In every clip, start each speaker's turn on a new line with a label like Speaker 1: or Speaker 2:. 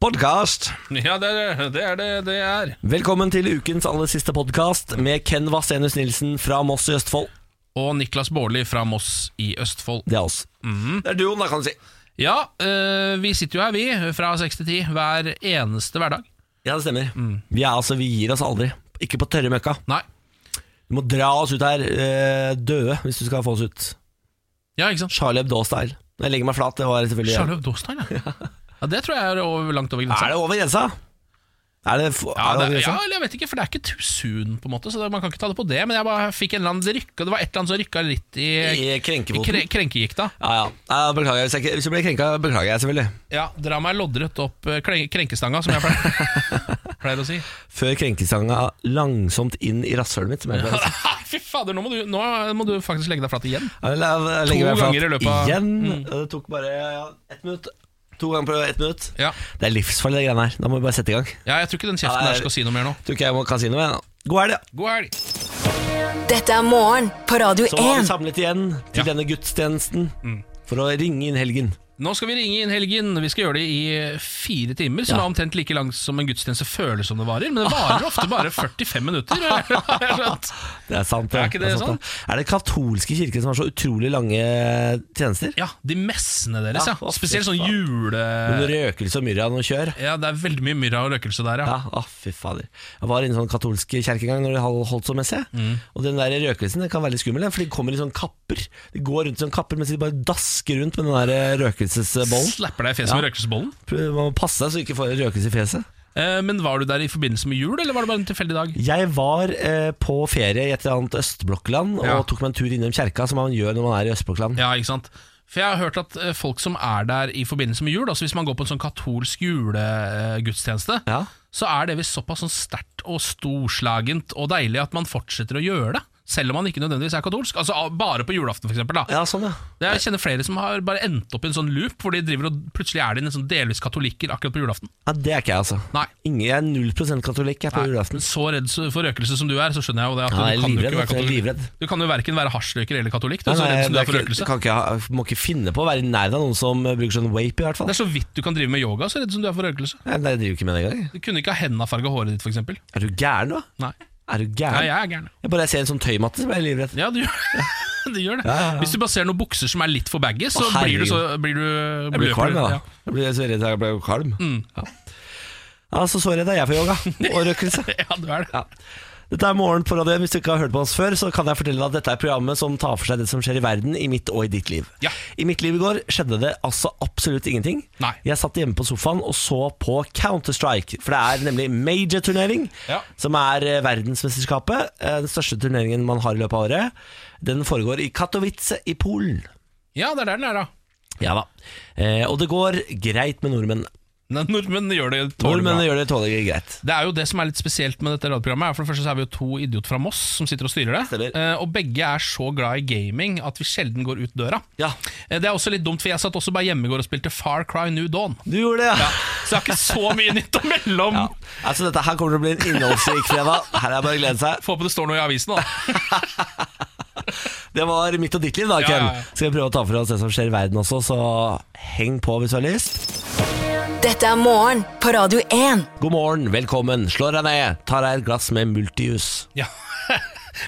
Speaker 1: Podcast!
Speaker 2: Ja, det er det er det det er.
Speaker 1: Velkommen til ukens aller siste podkast med Ken Vasenus Nilsen fra Moss i Østfold.
Speaker 2: Og Niklas Baarli fra Moss i Østfold. Mhm.
Speaker 1: Det er oss. Det er duoen, da, kan du si.
Speaker 2: Ja, eh, vi sitter jo her, vi, fra seks til ti hver eneste hverdag.
Speaker 1: Ja, det stemmer.
Speaker 2: Mm.
Speaker 1: Vi, er, altså, vi gir oss aldri. Ikke på tørre møkka.
Speaker 2: Nei.
Speaker 1: Du må dra oss ut her eh, døde hvis du skal få oss ut.
Speaker 2: Ja, ikke sant?
Speaker 1: Charlie Hebdo-style. Jeg legger meg flat. Det var selvfølgelig
Speaker 2: Charlotte Dostal, ja. ja. Det tror jeg er over, langt over
Speaker 1: Er
Speaker 2: grensa.
Speaker 1: det over grensa? Er det, for,
Speaker 2: altså. Ja,
Speaker 1: er det
Speaker 2: det,
Speaker 1: over
Speaker 2: ja,
Speaker 1: grensa?
Speaker 2: eller jeg vet ikke, for det er ikke tusen, på en måte, så det, man kan ikke ta det på det. Men jeg bare fikk en eller annen rykke, og det var et eller annet som rykka litt i,
Speaker 1: I
Speaker 2: i
Speaker 1: krenkefoten?
Speaker 2: kre, krenkegikta.
Speaker 1: Ja, ja. Ja, Beklager. Hvis jeg, ikke- hvis jeg blir krenka, beklager jeg selvfølgelig.
Speaker 2: Ja, dra meg loddrett opp eh, kren- krenkestanga, som jeg pleier, pleier å si.
Speaker 1: Før krenkestanga langsomt inn i rasshølet mitt. Som jeg pleier å si.
Speaker 2: Fy fader, nå må, du, nå må du faktisk legge deg flat igjen.
Speaker 1: Jeg la- jeg legger meg flat
Speaker 2: ganger i løpet av- Mm.
Speaker 1: Igjen. Det tok bare ja, ett minutt. To ganger på ett minutt.
Speaker 2: Ja.
Speaker 1: Det er livsfarlig, det greiene her. Da må vi bare sette i gang.
Speaker 2: ja, jeg tror ikke den
Speaker 1: Ja,
Speaker 2: kjeften
Speaker 1: det er-
Speaker 2: der skal si noe mer nå.
Speaker 1: Tror ikke jeg må kan si noe, jeg. God helg, ja.
Speaker 2: God helg.
Speaker 3: Dette er morgen på Radio
Speaker 1: Så var vi
Speaker 3: 1.
Speaker 1: samlet igjen til denne gudstjenesten
Speaker 2: Mm.
Speaker 1: for å ringe inn helgen.
Speaker 2: Nå skal vi ringe inn helgen. Vi skal gjøre det i eh, fire timer,
Speaker 1: Ja.
Speaker 2: som er omtrent like langt som en gudstjeneste føles som det varer. Men det varer ofte bare 45 minutter. har jeg skjønt.
Speaker 1: Det er sant.
Speaker 2: Er ikke det
Speaker 1: sant, ja. Er det katolske kirken som har så utrolig lange tjenester?
Speaker 2: Ja, de messene deres,
Speaker 1: Ja,
Speaker 2: ja.
Speaker 1: å, fy
Speaker 2: Spesielt sånn
Speaker 1: faen.
Speaker 2: jule...
Speaker 1: Med noe røkelse og myrra og noe kjør?
Speaker 2: Ja, det er veldig mye myrra og røkelse der, ja.
Speaker 1: Ja, å, fy fader. Jeg var inne i sånn katolsk kjerke en gang når de hol- holdt sånn messe.
Speaker 2: Mm.
Speaker 1: Og den der røkelsen den kan være litt skummel, den, for de kommer i sånne kapper. De går rundt i sånne kapper mens de bare dasker rundt med den der eh, røkelsesbollen.
Speaker 2: Slapper deg i fjeset
Speaker 1: Ja.
Speaker 2: med røkelsesbollen.
Speaker 1: Prøv- Man må passe seg så du ikke får røkelse i fjeset.
Speaker 2: Eh, men var du der i forbindelse med jul, eller var det bare en tilfeldig dag?
Speaker 1: Jeg var eh, på ferie i et eller annet østblokkland
Speaker 2: Ja.
Speaker 1: og tok meg en tur innom kjerka, som man gjør når man er i østblokkland.
Speaker 2: Ja, ikke sant? For jeg har hørt at eh, folk som er der i forbindelse med jul, altså hvis man går på en sånn katolsk eh, julegudstjeneste,
Speaker 1: Ja.
Speaker 2: så er det visst såpass sånn sterkt og storslagent og deilig at man fortsetter å gjøre det. Selv om man ikke nødvendigvis er katolsk. Altså ah, Bare på julaften, for eksempel. Da.
Speaker 1: Ja, sånn, ja.
Speaker 2: Jeg kjenner flere som har bare endt opp i en sånn loop, hvor de driver og plutselig er de en sånn delvis katolikker akkurat på julaften.
Speaker 1: ja. Det er ikke jeg, altså.
Speaker 2: Nei.
Speaker 1: Ingen, jeg er 0 katolikk jeg, på
Speaker 2: Nei,
Speaker 1: julaften.
Speaker 2: Så redd for røkelse som du er, så skjønner jeg jo det. At
Speaker 1: Ja, jeg er
Speaker 2: du kan jo
Speaker 1: livredd. vet
Speaker 2: ikke være
Speaker 1: du, Jeg er
Speaker 2: katolikk.
Speaker 1: livredd.
Speaker 2: Du kan jo verken være hasjrøyker eller katolikk. Du
Speaker 1: Nei,
Speaker 2: er så
Speaker 1: nei,
Speaker 2: redd som du
Speaker 1: det
Speaker 2: er for
Speaker 1: ikke-
Speaker 2: røkelse.
Speaker 1: Kan ikke, ha- må ikke finne på å være i nærheten av noen som bruker sånn vape, i hvert fall.
Speaker 2: Det er så vidt du kan drive med yoga, så redd som du er for røkelse.
Speaker 1: Nei, nei, jeg driver ikke med det engang. jeg.
Speaker 2: Du kunne ikke ha henda farga håret ditt, f.eks.
Speaker 1: Er du gæren, da?
Speaker 2: Nei.
Speaker 1: Er du
Speaker 2: Ja,
Speaker 1: gæren?
Speaker 2: jeg er gæren.
Speaker 1: Jeg bare ser en sånn tøymatte, så blir jeg livredd.
Speaker 2: Ja, du, du gjør det.
Speaker 1: ja, ja.
Speaker 2: Hvis du bare ser noen bukser som er litt for baggy, så
Speaker 1: Å,
Speaker 2: blir du så blir du,
Speaker 1: Jeg blir
Speaker 2: bløper
Speaker 1: kvalm,
Speaker 2: du.
Speaker 1: jeg, da.
Speaker 2: Ja. Mm.
Speaker 1: Jeg blir så redd jeg blir kvalm. Ja. Altså, så redd er jeg for yoga og røkelse.
Speaker 2: Ja, du er det.
Speaker 1: Ja. Dette er Morgen på radioen. Hvis du ikke har hørt på oss før, så kan jeg fortelle deg at dette er programmet som tar for seg det som skjer i verden, i mitt og i ditt liv.
Speaker 2: Ja.
Speaker 1: I mitt liv i går skjedde det altså absolutt ingenting.
Speaker 2: Nei.
Speaker 1: Jeg satt hjemme på sofaen og så på Counter-Strike, for det er nemlig major-turnering,
Speaker 2: Ja.
Speaker 1: som er eh, verdensmesterskapet. eh, Den største turneringen man har i løpet av året. Den foregår i Katowice i Polen.
Speaker 2: Ja, det er der den er, da.
Speaker 1: Ja da. Eh, og det går greit med nordmenn.
Speaker 2: Men Nordmenn gjør det tålelig bra.
Speaker 1: Nordmennene gjør det tålelig greit.
Speaker 2: Det er jo det som er litt spesielt med dette radioprogrammet. er For det første så er vi jo to idioter fra Moss som sitter og styrer det.
Speaker 1: Stemmer.
Speaker 2: Eh, Og begge er så glad i gaming at vi sjelden går ut døra.
Speaker 1: Ja.
Speaker 2: Eh, Det er også litt dumt, for jeg satt også bare hjemme i går og spilte Far Cry New Dawn.
Speaker 1: Du gjorde det, ja.
Speaker 2: Så jeg har ikke så mye nytt å melde om.
Speaker 1: ja. Altså, dette her kommer til å bli en innholdsrik fredag. Her er det bare å glede seg.
Speaker 2: Få på det står noe i avisen, da.
Speaker 1: Det var mitt og ditt liv, da,
Speaker 2: Ja,
Speaker 1: Ken.
Speaker 2: ja, ja.
Speaker 1: Skal vi prøve å ta for oss det som skjer i verden også, så heng på hvis du har lyst.
Speaker 3: Dette er morgen på Radio 1.
Speaker 1: God morgen, velkommen, slå deg ned, ta deg et glass med multijus.
Speaker 2: Ja.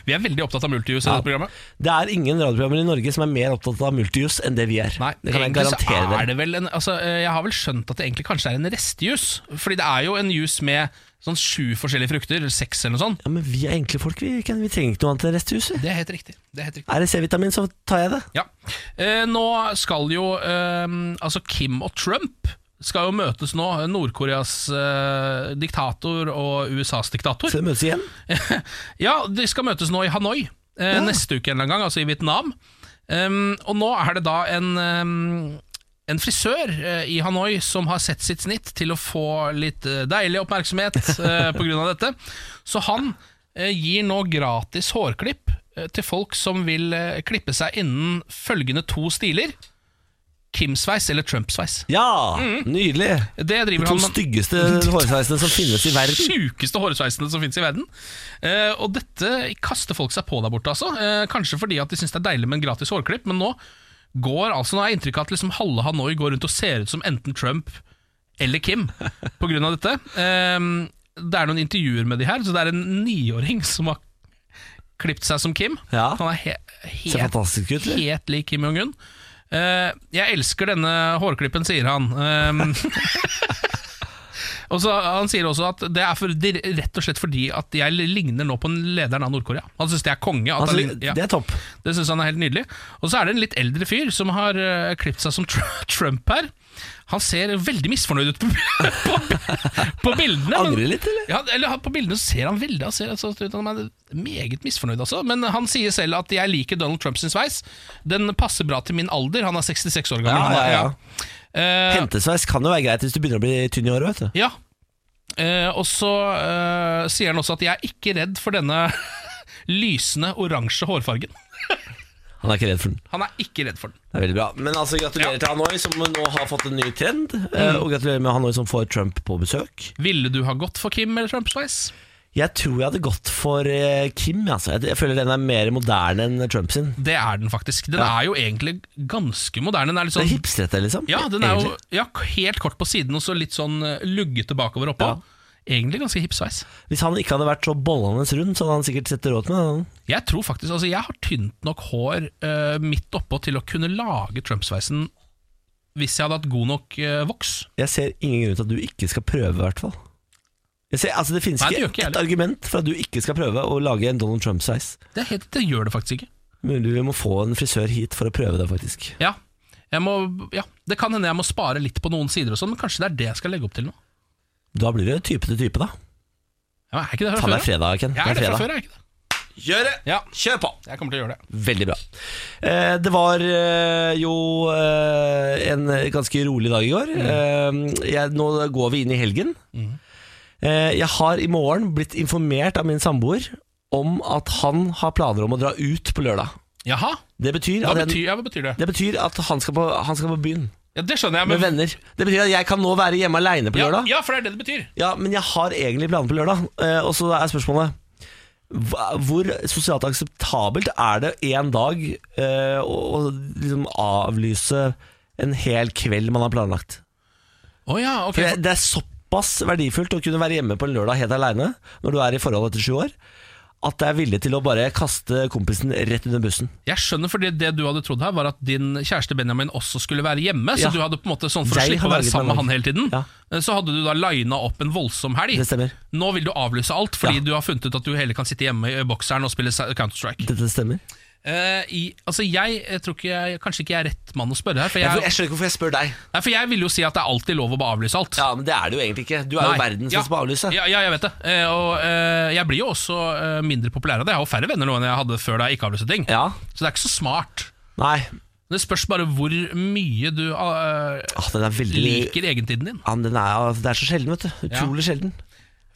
Speaker 2: Vi er veldig opptatt av multijus i dette programmet.
Speaker 1: Det er ingen radioprogrammer i Norge som er mer opptatt av multijus enn det vi er.
Speaker 2: Nei,
Speaker 1: det kan jeg
Speaker 2: egentlig så
Speaker 1: garantere
Speaker 2: Er
Speaker 1: deg.
Speaker 2: det vel en, altså, eh, jeg har vel skjønt at det egentlig kanskje er en restjus. Fordi det er jo en jus med sånn sju forskjellige frukter, eller seks eller noe sånt.
Speaker 1: Ja, men vi er enkle folk, vi, Ken. Vi trenger ikke noe annet enn resthuset.
Speaker 2: Det er helt riktig. Det er helt riktig.
Speaker 1: Er det C-vitamin, så tar jeg det.
Speaker 2: Ja. Eh, nå skal jo eh, altså Kim og Trump skal jo møtes nå. Nord-Koreas eh, diktator og USAs diktator.
Speaker 1: Så vi møtes igjen.
Speaker 2: Ja, de skal møtes nå i Hanoi eh, neste uke en eller annen gang, altså i Vietnam. Um, og nå er det da en, um, en frisør eh, i Hanoi som har sett sitt snitt til å få litt eh, deilig oppmerksomhet eh, på grunn av dette. Så han eh, gir nå gratis hårklipp eh, til folk som vil eh, klippe seg innen følgende to stiler. Kim-sveis eller Trump-sveis.
Speaker 1: Ja,
Speaker 2: Mm.
Speaker 1: nydelig.
Speaker 2: Det
Speaker 1: De
Speaker 2: driver
Speaker 1: to
Speaker 2: han med-
Speaker 1: styggeste hårsveisene som finnes i verden.
Speaker 2: sjukeste hårsveisene som finnes i verden. Eh, og dette kaster folk seg på der borte, altså. Eh, kanskje fordi at de syns det er deilig med en gratis hårklipp, men nå går altså, nå har jeg inntrykk av at liksom halve Hanoi går rundt og ser ut som enten Trump eller Kim på grunn av dette. Ehm, det er noen intervjuer med de her, så det er en niåring som har klippet seg som Kim.
Speaker 1: Ja.
Speaker 2: Han er he
Speaker 1: Ser
Speaker 2: helt,
Speaker 1: fantastisk ut, eller?
Speaker 2: helt lik Kim Jong-un. Eh, jeg elsker denne hårklippen, sier han. Ehm, og så, han sier også at det er for, det er rett og slett fordi at jeg ligner nå på den lederen av Nord-Korea. Han syns det er konge. At han
Speaker 1: Altså,
Speaker 2: ligner, ja.
Speaker 1: det er topp.
Speaker 2: Det syns han er helt nydelig. Og så er det en litt eldre fyr som har uh, klippet seg som Tr- Trump her. Han ser veldig misfornøyd ut på, på, på bildene. men-
Speaker 1: Angrer litt, eller?
Speaker 2: Ja, eller han- på bildene så ser han veldig han ser, altså, ut som han er meget misfornøyd, altså. Men han sier selv at 'jeg liker Donald Trumps sveis'. Den passer bra til min alder. Han er 66 år gammel.
Speaker 1: Ja, ja, ja.
Speaker 2: Eh,
Speaker 1: Hentesveis kan jo være greit hvis du begynner å bli tynn i håret, vet du.
Speaker 2: ja. Eh, og så eh, sier han også at 'jeg er ikke redd for denne lysende oransje hårfargen'.
Speaker 1: Han er ikke redd for den.
Speaker 2: Han er ikke redd for den.
Speaker 1: Det er veldig bra. Men altså, gratulerer
Speaker 2: Ja. Mm.
Speaker 1: til Hanoi, som nå har fått en ny trend. eh, Og gratulerer med Hanoi som får Trump på besøk.
Speaker 2: Ville du ha gått for Kim eller Trump sveis?
Speaker 1: Jeg tror jeg hadde gått for eh, Kim. Altså. Jeg, jeg føler den er mer moderne enn Trump sin.
Speaker 2: Det er den faktisk. Den
Speaker 1: Ja.
Speaker 2: er jo egentlig ganske moderne. Den er litt
Speaker 1: Det er
Speaker 2: sånn
Speaker 1: hipstrete, liksom.
Speaker 2: ja, den er jo
Speaker 1: egentlig.
Speaker 2: ja, helt kort på siden og så litt sånn eh, luggete bakover oppå.
Speaker 1: Ja.
Speaker 2: Egentlig ganske hipsveis.
Speaker 1: Hvis han ikke hadde vært så bollende rund, så hadde han sikkert sett råd med den.
Speaker 2: Jeg tror faktisk, altså jeg har tynt nok hår eh, midt oppå til å kunne lage Trump-sveisen hvis jeg hadde hatt god nok eh, voks.
Speaker 1: Jeg ser ingen grunn til at du ikke skal prøve, i hvert fall. Jeg ser, altså, det finnes
Speaker 2: Nei, det gjør
Speaker 1: ikke
Speaker 2: ikke jeg
Speaker 1: et argument for at du ikke skal prøve å lage en Donald Trump-sveis.
Speaker 2: Det, er helt, det gjør det faktisk ikke.
Speaker 1: Mulig vi må få en frisør hit for å prøve det, faktisk.
Speaker 2: Ja, jeg må, ja, det kan hende jeg må spare litt på noen sider og sånn, men kanskje det er det jeg skal legge opp til nå.
Speaker 1: Da blir det type til type, da.
Speaker 2: Ja, er ikke det fra
Speaker 1: Faen, det
Speaker 2: før?
Speaker 1: er
Speaker 2: da?
Speaker 1: fredag, Ken.
Speaker 2: Jeg er det fra før, er jeg ikke det?
Speaker 1: Gjør det!
Speaker 2: Ja,
Speaker 1: Kjør på!
Speaker 2: jeg kommer til å gjøre det.
Speaker 1: Veldig bra. Eh, det var eh, jo eh, en ganske rolig dag i går.
Speaker 2: Mm.
Speaker 1: Eh, jeg, nå går vi inn i helgen. Eh, jeg har i morgen blitt informert av min samboer om at han har planer om å dra ut på lørdag.
Speaker 2: Jaha,
Speaker 1: Det betyr,
Speaker 2: hva
Speaker 1: at,
Speaker 2: betyr, ja, hva betyr det?
Speaker 1: det betyr at han skal på, han skal på byen
Speaker 2: Ja, Det skjønner jeg,
Speaker 1: med
Speaker 2: men
Speaker 1: venner. Det betyr at jeg kan nå være hjemme aleine på
Speaker 2: ja,
Speaker 1: lørdag.
Speaker 2: ja, for det er det det betyr.
Speaker 1: Ja, men jeg har egentlig planer på lørdag, eh, og så er spørsmålet hva- hvor sosialt akseptabelt er det en dag eh, å, å liksom avlyse en hel kveld man har planlagt?
Speaker 2: Å ja, ok.
Speaker 1: For det, det er såpass verdifullt å kunne være hjemme på en lørdag helt aleine når du er i forhold etter sju år, at jeg er villig til å bare kaste kompisen rett under bussen.
Speaker 2: Jeg skjønner, fordi det du hadde trodd her, var at din kjæreste Benjamin også skulle være hjemme. Så
Speaker 1: Ja.
Speaker 2: du hadde på en måte sånn for å
Speaker 1: Jeg
Speaker 2: slippe
Speaker 1: har
Speaker 2: å være
Speaker 1: laget
Speaker 2: sammen med
Speaker 1: meg
Speaker 2: han hele tiden. Eh,
Speaker 1: Ja.
Speaker 2: Så hadde du da lina opp en voldsom helg.
Speaker 1: Det stemmer.
Speaker 2: Nå vil du avlyse alt,
Speaker 1: Ja.
Speaker 2: fordi du har funnet ut at du heller kan sitte hjemme i bokseren og spille sa- Counter-Strike.
Speaker 1: Dette stemmer.
Speaker 2: Eh, i- altså jeg, jeg tror ikke jeg, Kanskje ikke jeg er rett mann å spørre her. For
Speaker 1: Jeg,
Speaker 2: jeg,
Speaker 1: skjønner ikke hvorfor jeg spør deg.
Speaker 2: nei, for jeg vil jo si at det er alltid lov å bare avlyse alt.
Speaker 1: Ja, Men det er det jo egentlig ikke. Du er
Speaker 2: Nei.
Speaker 1: jo verdens
Speaker 2: Ja.
Speaker 1: som skal avlyse.
Speaker 2: Ja, ja, jeg vet det. Eh, og eh, jeg blir jo også eh, mindre populær av det. Jeg har jo færre venner nå enn jeg hadde før da jeg ikke avlyste ting.
Speaker 1: Ja.
Speaker 2: Så det er ikke så smart.
Speaker 1: Nei.
Speaker 2: Det spørs bare hvor mye du eh,
Speaker 1: Ah, den er veldig
Speaker 2: liker egentiden din.
Speaker 1: Ja, men den er, det er så sjelden, vet du. Utrolig sjelden.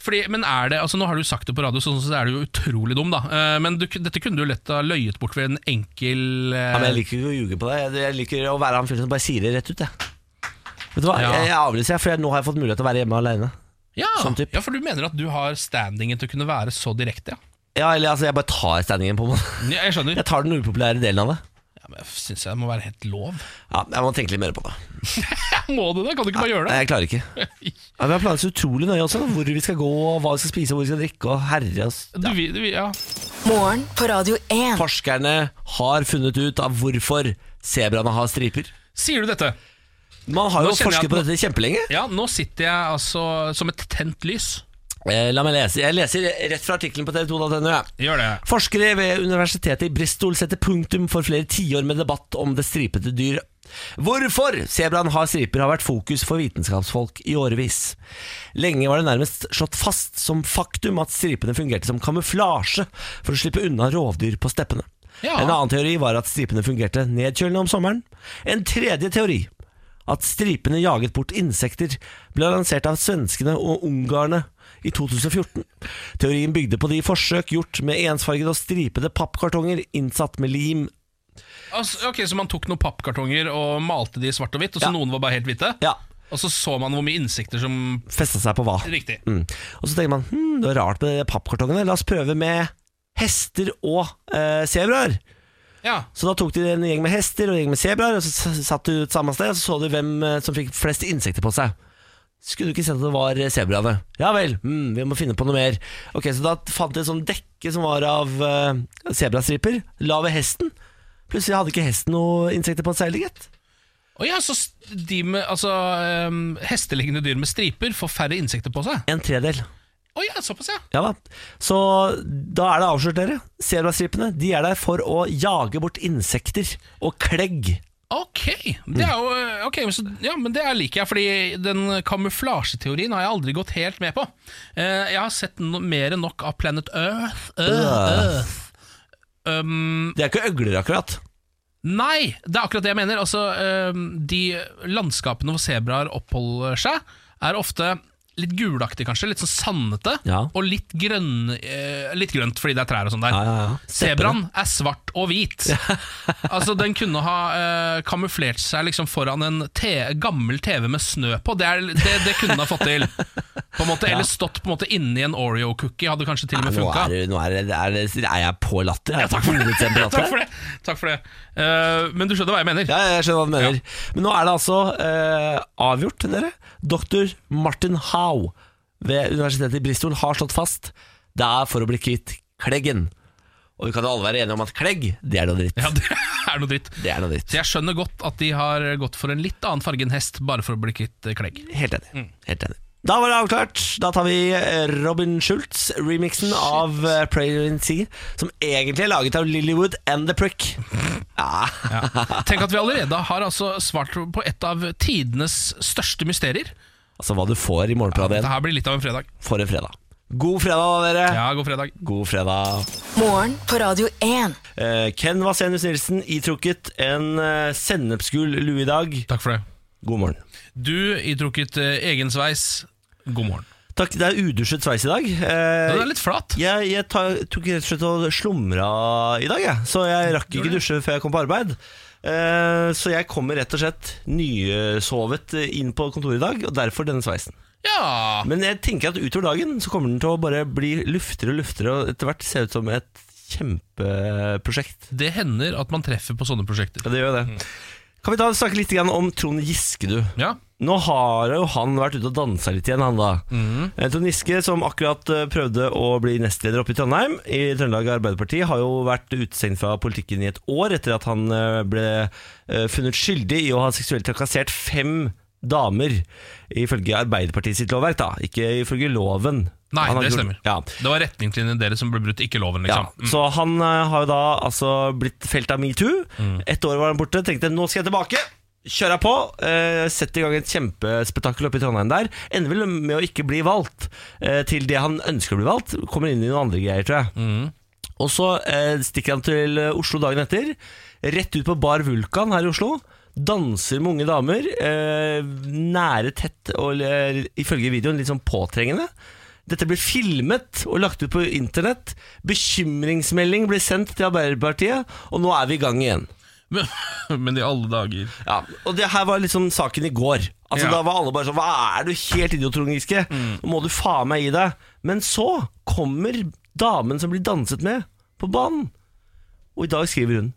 Speaker 2: Fordi, men er det, altså Nå har du sagt det på radio, så sånn sett er du jo utrolig dum, da. Eh, Men du, dette kunne du lett ha løyet bort ved en enkel eh,
Speaker 1: Ja, men jeg liker ikke å ljuge på det. Jeg- Jeg liker å være han fyren som bare sier det rett ut. Jeg. Vet du hva,
Speaker 2: Ja.
Speaker 1: jeg, jeg avlyser, jeg, for jeg, nå har jeg fått mulighet til å være hjemme alene.
Speaker 2: ja,
Speaker 1: sånn typ.
Speaker 2: ja, for du mener at du har standingen til å kunne være så direkte, ja.
Speaker 1: Ja, eller altså, jeg bare tar standingen på meg.
Speaker 2: Ja, Jeg skjønner.
Speaker 1: Jeg tar den upopulære delen av det.
Speaker 2: Ja, men jeg syns jeg må være helt lov.
Speaker 1: Ja, Jeg må tenke litt mer på det.
Speaker 2: Må du det? Kan du ikke bare gjøre det?
Speaker 1: Nei, Jeg klarer ikke. Ja, vi har planlagt så utrolig nøye også hvor vi skal gå, og hva vi skal spise, og hvor vi skal drikke, og herre oss.
Speaker 2: Du, vil- du, vil- ja.
Speaker 3: Morgen på Radio 1.
Speaker 1: Forskerne har funnet ut av hvorfor sebraene har striper.
Speaker 2: Sier du dette?
Speaker 1: Man har jo
Speaker 2: Nå kjenner jeg
Speaker 1: forsket på
Speaker 2: at-
Speaker 1: dette kjempelenge.
Speaker 2: Ja, nå sitter jeg altså som et tent lys.
Speaker 1: Eh, La meg lese. Jeg leser rett fra artikkelen på tv2.no. jeg.
Speaker 2: Gjør det.
Speaker 1: Forskere ved universitetet i Bristol setter punktum for flere tiår med debatt om det stripete dyret. Hvorfor sebraen har striper har vært fokus for vitenskapsfolk i årevis. Lenge var det nærmest slått fast som faktum at stripene fungerte som kamuflasje for å slippe unna rovdyr på steppene.
Speaker 2: Ja.
Speaker 1: En annen teori var at stripene fungerte nedkjølende om sommeren. En tredje teori at stripene jaget bort insekter ble lansert av svenskene og ungarene i 2014. Teorien bygde på de forsøk gjort med ensfargede og stripede pappkartonger innsatt med lim.
Speaker 2: Altså, ok, Så man tok noen pappkartonger og malte de i svart og hvitt, og så
Speaker 1: Ja.
Speaker 2: noen var bare helt hvite?
Speaker 1: Ja,
Speaker 2: Og så så man hvor mye insekter som
Speaker 1: festa seg på hva.
Speaker 2: Riktig.
Speaker 1: Mm. Og så tenker man hm, det var rart med de pappkartongene, la oss prøve med hester og eh, sebraer.
Speaker 2: Ja.
Speaker 1: Så da tok de en gjeng med hester og en gjeng med sebraer, og så s- satt de ut samme sted, og så så de hvem eh, som fikk flest insekter på seg. Skulle du ikke sett at det var eh, sebraene? Ja vel, mm, vi må finne på noe mer. Ok, Så da fant de et sånt dekke som var av uh, sebrastriper. La ved hesten. Plutselig hadde ikke hesten noe insekter på seilet, gitt.
Speaker 2: Å ja, så s- de med, altså, ehm, hestelignende dyr med striper får færre insekter på seg?
Speaker 1: En tredel.
Speaker 2: Å ja, såpass, ja.
Speaker 1: Ja da. Så da er det avslørt, dere. Zebrastripene de er der for å jage bort insekter og klegg.
Speaker 2: Ok, det er jo, ok, men så, ja, men det er liker jeg, fordi den kamuflasjeteorien har jeg aldri gått helt med på. Eh, jeg har sett no mer enn nok av Planet Earth. Earth. Earth. Um,
Speaker 1: De er ikke øgler, akkurat.
Speaker 2: nei, det er akkurat det jeg mener. Altså, um, de landskapene hvor sebraer oppholder seg, er ofte litt gulaktige, kanskje. Litt sånn sandete,
Speaker 1: Ja.
Speaker 2: og litt, grønn, eh, litt grønt fordi det er trær og sånn der.
Speaker 1: Ja, ja, ja.
Speaker 2: Sebraen er svart og hvit. altså Den kunne ha eh, kamuflert seg liksom foran en te gammel TV med snø på. Det, er, det, det kunne den ha fått til. På en måte, Eller stått på en måte inni en Oreo-cookie. Hadde kanskje til og
Speaker 1: Ja,
Speaker 2: med
Speaker 1: Nå er,
Speaker 2: funka.
Speaker 1: det- nå er, det- er, det- er jeg på latter? Er jeg på hovedtemperaturen?
Speaker 2: Takk for det. Takk for det. Eh, men du skjønner hva jeg mener.
Speaker 1: Ja, jeg skjønner hva du mener. Men nå er det altså eh, avgjort, dere. Doktor Martin Howe ved Universitetet i Bristol har slått fast det er for å bli kvitt kleggen. Og vi kan alle være enige om at klegg, det er noe dritt.
Speaker 2: Ja, det er noe dritt.
Speaker 1: Det er noe dritt.
Speaker 2: Så jeg skjønner godt at de har gått for en litt annen farge enn hest, bare for å bli kvitt eh, klegg.
Speaker 1: Helt enig. Helt enig. Da var det avklart. Da tar vi eh, Robin Schultz-remixen av eh, Prayer in Sea, som egentlig er laget av Lillywood and The Prick. Ja.
Speaker 2: Ja. Tenk at vi allerede har altså svart på et av tidenes største mysterier.
Speaker 1: Altså hva du får i morgenpradet
Speaker 2: Dette
Speaker 1: igjen
Speaker 2: her blir litt av en fredag.
Speaker 1: for en fredag. God fredag, dere.
Speaker 2: Ja, god fredag.
Speaker 1: God fredag.
Speaker 3: Morgen på Radio 1.
Speaker 1: Eh, Ken Vasenius Nilsen itrukket en eh, sennepsgul lue i dag.
Speaker 2: Takk for det.
Speaker 1: God morgen.
Speaker 2: Du itrukket eh, egen sveis. God morgen.
Speaker 1: Takk, det er udusjet sveis i dag. Eh,
Speaker 2: Den er litt flat.
Speaker 1: Jeg, jeg ta, tok rett og slett og slumra i dag, jeg. så jeg rakk ikke dusje før jeg kom på arbeid. Eh, så jeg kommer rett og slett nysovet inn på kontoret i dag, og derfor denne sveisen.
Speaker 2: Ja.
Speaker 1: Men jeg tenker at utover dagen så kommer den til å bare bli luftigere og luftigere, og etter hvert se ut som et kjempeprosjekt.
Speaker 2: Det hender at man treffer på sånne prosjekter.
Speaker 1: Ja, det gjør
Speaker 2: Mm.
Speaker 1: det. Kan vi ta snakke litt grann om Trond Giske, du?
Speaker 2: Ja.
Speaker 1: Nå har jo han vært ute og dansa litt igjen, han da.
Speaker 2: Mm.
Speaker 1: Eh, Trond Giske, som akkurat eh, prøvde å bli nestleder oppe i Trondheim, i Trøndelag Arbeiderparti, har jo vært utestengt fra politikken i et år etter at han eh, ble eh, funnet skyldig i å ha seksuelt trakassert fem damer, ifølge Arbeiderpartiet sitt lovverk, da. Ikke ifølge loven.
Speaker 2: Nei,
Speaker 1: Han har
Speaker 2: det
Speaker 1: ikke-
Speaker 2: stemmer.
Speaker 1: Ja.
Speaker 2: Det var retningslinjene deres som ble brutt, ikke loven, liksom.
Speaker 1: Ja, Så han eh, har jo da altså blitt felt av metoo. Ett år var han borte. Tenkte nå skal jeg tilbake. Kjøra på. Eh, Setter i gang et kjempespetakkel oppe i Trondheim der. Ender vel med å ikke bli valgt eh, til det han ønsker å bli valgt. Kommer inn i noen andre greier, tror jeg. Og så eh, stikker han til eh, Oslo dagen etter. Rett ut på Bar Vulkan her i Oslo. Danser med unge damer. Eh, nære, tett og eh, ifølge videoen litt sånn påtrengende. Dette ble filmet og lagt ut på internett. Bekymringsmelding ble sendt til Arbeiderpartiet, og nå er vi i gang igjen.
Speaker 2: Men, men i alle dager
Speaker 1: Ja, og det her var liksom saken i går. Altså
Speaker 2: Ja.
Speaker 1: Da var alle bare sånn Hva er du helt idiot, Trond Giske? Nå må du faen meg gi deg. Men så kommer damen som blir danset med, på banen. Og i dag skriver hun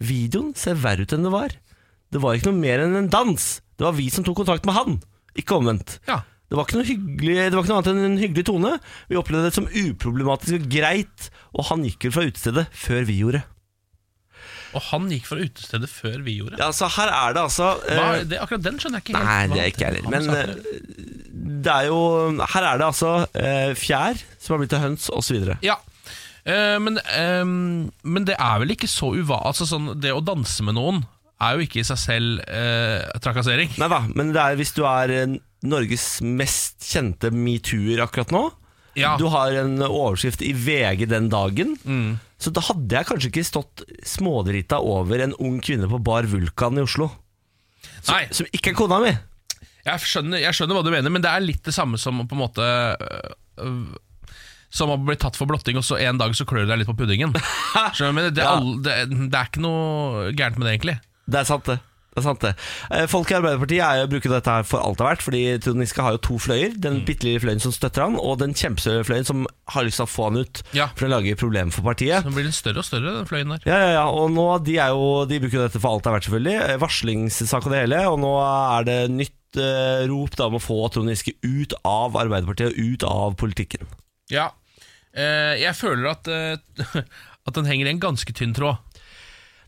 Speaker 1: Videoen ser verre ut enn det var. Det var ikke noe mer enn en dans. Det var vi som tok kontakt med han, ikke omvendt.
Speaker 2: Ja.
Speaker 1: Det var, ikke noe hyggelig, det var ikke noe annet enn en hyggelig tone. Vi opplevde det som uproblematisk og greit, og han gikk vel fra utestedet før vi gjorde.
Speaker 2: Og han gikk fra utestedet før vi gjorde.
Speaker 1: Ja, altså, her er det altså eh,
Speaker 2: Hva, det, akkurat den skjønner jeg ikke helt.
Speaker 1: Nei,
Speaker 2: hva
Speaker 1: det er ikke jeg heller.
Speaker 2: han
Speaker 1: Men
Speaker 2: sa.
Speaker 1: eh, det er jo Her er det altså eh, fjær som har blitt til høns, osv.
Speaker 2: Ja Eh, men, ehm, men det er vel ikke så uva... Altså sånn, det å danse med noen er jo ikke i seg selv eh, trakassering.
Speaker 1: Nei da, men det er hvis du er eh, Norges mest kjente metoo-er akkurat nå.
Speaker 2: Ja.
Speaker 1: Du har en overskrift i VG den dagen.
Speaker 2: Mm.
Speaker 1: Så da hadde jeg kanskje ikke stått smådrita over en ung kvinne på Bar Vulkan i Oslo,
Speaker 2: Nei,
Speaker 1: som ikke er kona mi.
Speaker 2: Jeg skjønner, jeg skjønner hva du mener, men det er litt det samme som på en måte øh, øh, Som å bli tatt for blotting, og så en dag så klør du deg litt på puddingen. Skjønner du? Men det, er
Speaker 1: Ja.
Speaker 2: all- det, det er ikke noe gærent med det, egentlig.
Speaker 1: Det er sant, det. det, er sant det. Eh, Folk i Arbeiderpartiet er jo bruker dette her for alt det er verdt. Fordi Trond Giske har jo to fløyer.
Speaker 2: Mm.
Speaker 1: Den bitte lille fløyen som støtter han, og den kjempestore fløyen som har lyst til å få han ut
Speaker 2: Ja.
Speaker 1: for å lage problemer for partiet.
Speaker 2: Den blir litt større og større, den fløyen der.
Speaker 1: Ja, ja, ja, og nå de, er jo, de bruker jo dette for alt det er verdt, selvfølgelig. Eh, Varslingssak og det hele. Og nå er det nytt eh, rop da om å få Trond Giske ut av Arbeiderpartiet og ut av politikken.
Speaker 2: Ja. Eh, jeg føler at, eh, at den henger i en ganske tynn tråd.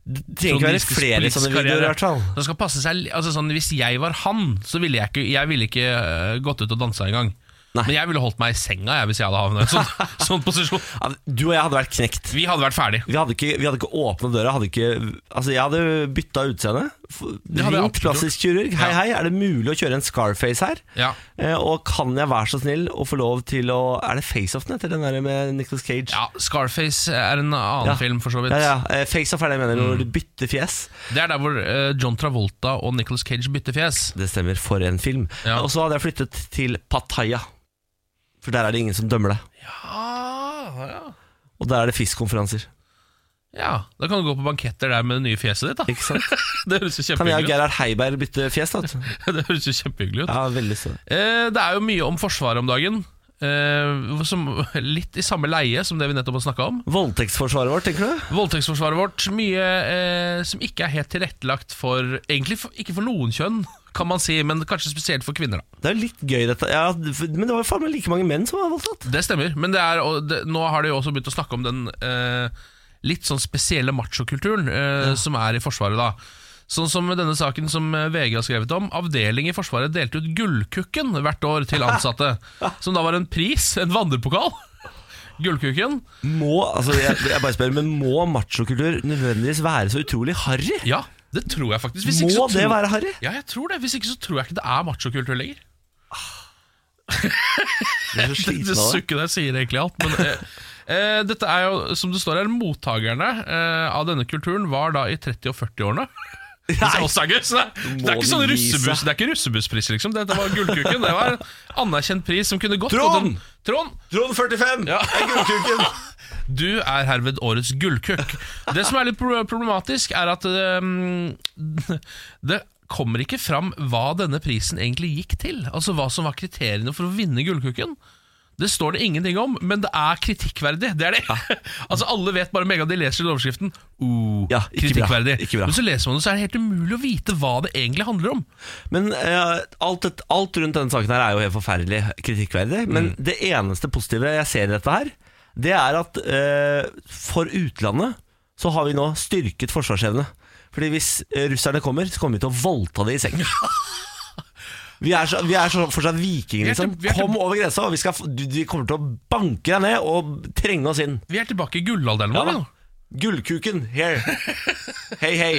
Speaker 1: Det trenger ikke være
Speaker 2: Trond Giskes
Speaker 1: flere
Speaker 2: politiske
Speaker 1: sånne videoer, i
Speaker 2: karriere.
Speaker 1: hvert fall.
Speaker 2: Den skal passe seg, altså sånn, Hvis jeg var han, så ville jeg ikke, jeg ville ikke eh, gått ut og dansa engang.
Speaker 1: Nei.
Speaker 2: Men jeg ville holdt meg i senga jeg, hvis jeg hadde havnet i en sånn, sånn posisjon.
Speaker 1: Ja, Du og jeg hadde vært knekt.
Speaker 2: Vi hadde vært ferdig.
Speaker 1: Vi hadde ikke, vi hadde ikke åpnet døra. Hadde ikke, altså jeg hadde bytta utseende. f-
Speaker 2: hadde jeg
Speaker 1: Ringt
Speaker 2: absolutt
Speaker 1: plastisk kirurg. Hei,
Speaker 2: Ja.
Speaker 1: hei, er det mulig å kjøre en Scarface her?
Speaker 2: Ja.
Speaker 1: Eh, og kan jeg være så snill å få lov til å Er det FaceOff-en etter den der med Nicolas Cage?
Speaker 2: ja, Scarface er en annen
Speaker 1: Ja.
Speaker 2: film, for så vidt.
Speaker 1: Ja, ja. Eh, FaceOff er det jeg mener,
Speaker 2: Mm.
Speaker 1: når du bytter fjes.
Speaker 2: Det er der hvor eh, John Travolta og Nicolas Cage bytter fjes.
Speaker 1: Det stemmer, for en film.
Speaker 2: Ja.
Speaker 1: Og så hadde jeg flyttet til Pattaya, for der er det ingen som dømmer deg.
Speaker 2: Ja, ja.
Speaker 1: Og der er det fiskkonferanser.
Speaker 2: ja, Da kan du gå på banketter der med det nye fjeset ditt. da
Speaker 1: Ikke sant?
Speaker 2: Det høres jo
Speaker 1: Kan jeg og
Speaker 2: kjempehyggelig ut.
Speaker 1: Gerhard Heiberg bytte fjes, da? vet du?
Speaker 2: Det høres jo kjempehyggelig ut.
Speaker 1: Ja, veldig søt.
Speaker 2: Eh, Det er jo mye om Forsvaret om dagen. eh, som, litt i samme leie som det vi nettopp har snakka om.
Speaker 1: Voldtektsforsvaret vårt, tenker du?
Speaker 2: Voldtektsforsvaret vårt. Mye eh, som ikke er helt tilrettelagt for Egentlig for, ikke for noen kjønn, kan man si, men kanskje spesielt for kvinner. da
Speaker 1: Det er jo litt gøy, dette. Ja, men det var jo faen meg like mange menn som var voldtatt.
Speaker 2: Det stemmer. Men det er, og det, nå har de jo også begynt å snakke om den eh, litt sånn spesielle machokulturen eh, som er i Forsvaret, da. Sånn som denne saken som eh, VG har skrevet om. Avdeling i Forsvaret delte ut Gullkukken hvert år til ansatte. som da var en pris, en vandrepokal. Gullkukken.
Speaker 1: Må, altså jeg, jeg bare spør, men må machokultur nødvendigvis være så utrolig harry?
Speaker 2: Ja, det tror jeg faktisk. Hvis ikke
Speaker 1: Må
Speaker 2: så
Speaker 1: det
Speaker 2: tror-
Speaker 1: være harry?
Speaker 2: Ja, jeg tror det. Hvis ikke så tror jeg ikke det er machokultur lenger.
Speaker 1: Jeg er så
Speaker 2: Det, det
Speaker 1: sliten av det.
Speaker 2: sukket der sier egentlig alt, men eh, eh, dette er jo, som det står her, mottakerne eh, av denne kulturen var da i 30- og 40-årene. Det er,
Speaker 1: Nei.
Speaker 2: også gøy, så det, er- det er
Speaker 1: Må
Speaker 2: ikke
Speaker 1: du
Speaker 2: sånn
Speaker 1: gi seg.
Speaker 2: russebuss, det er ikke russebusspris, liksom. Dette var gullkuken. Det var en anerkjent pris som kunne gått.
Speaker 1: Trond!
Speaker 2: og den- Trond!
Speaker 1: Trond 45! Ja. Jeg er gullkuken!
Speaker 2: Du er herved årets gullkukk. Det som er litt pro- problematisk, er at ehm, det kommer ikke fram hva denne prisen egentlig gikk til. Altså hva som var kriteriene for å vinne gullkukken. Det står det ingenting om, men det er kritikkverdig. Det er det. altså Alle vet bare med en gang de leser den overskriften uh,
Speaker 1: Ja, ikke bra.
Speaker 2: kritikkverdig.
Speaker 1: Ikke bra.
Speaker 2: Men så leser man det, så er det helt umulig å vite hva det egentlig handler om.
Speaker 1: Men eh, alt, et, alt rundt denne saken her er jo helt forferdelig kritikkverdig. Men
Speaker 2: Mm.
Speaker 1: det eneste positive jeg ser i dette her, det er at eh, for utlandet så har vi nå styrket forsvarsevne. Fordi hvis eh, russerne kommer, så kommer vi til å voldta det i seng. Vi er, så, vi er så fortsatt vikinger,
Speaker 2: Vi er til-
Speaker 1: liksom.
Speaker 2: vi er til-
Speaker 1: Kom over grensa, og vi, skal, f- du- de kommer til å banke deg ned og trenge oss inn.
Speaker 2: Vi er tilbake i gullalderen
Speaker 1: Ja
Speaker 2: vår.
Speaker 1: da.
Speaker 2: nå.
Speaker 1: Gullkuken, here. Hei, hei.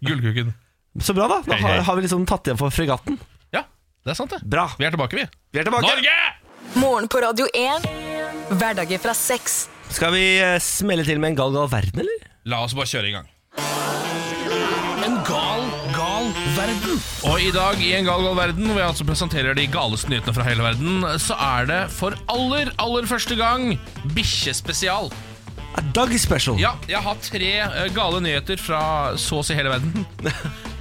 Speaker 2: Gullkukken.
Speaker 1: Så bra, da. Da
Speaker 2: Hei, hei.
Speaker 1: har, har vi liksom tatt igjen for fregatten.
Speaker 2: Ja, det er sant, det.
Speaker 1: Bra.
Speaker 2: Vi er tilbake, vi.
Speaker 1: Vi er tilbake.
Speaker 2: Norge!
Speaker 3: Morgen på Radio 1. Hverdager fra seks.
Speaker 1: Skal vi eh, smelle til med en gal gal verden, eller?
Speaker 2: La oss bare kjøre i gang. En gal, gal verden. Og i dag i En gal, gal verden, hvor jeg altså presenterer de galeste nyhetene fra hele verden, så er det for aller, aller første gang bikkjespesial.
Speaker 1: A dog special.
Speaker 2: Ja, jeg har tre eh, gale nyheter fra så å si hele verden,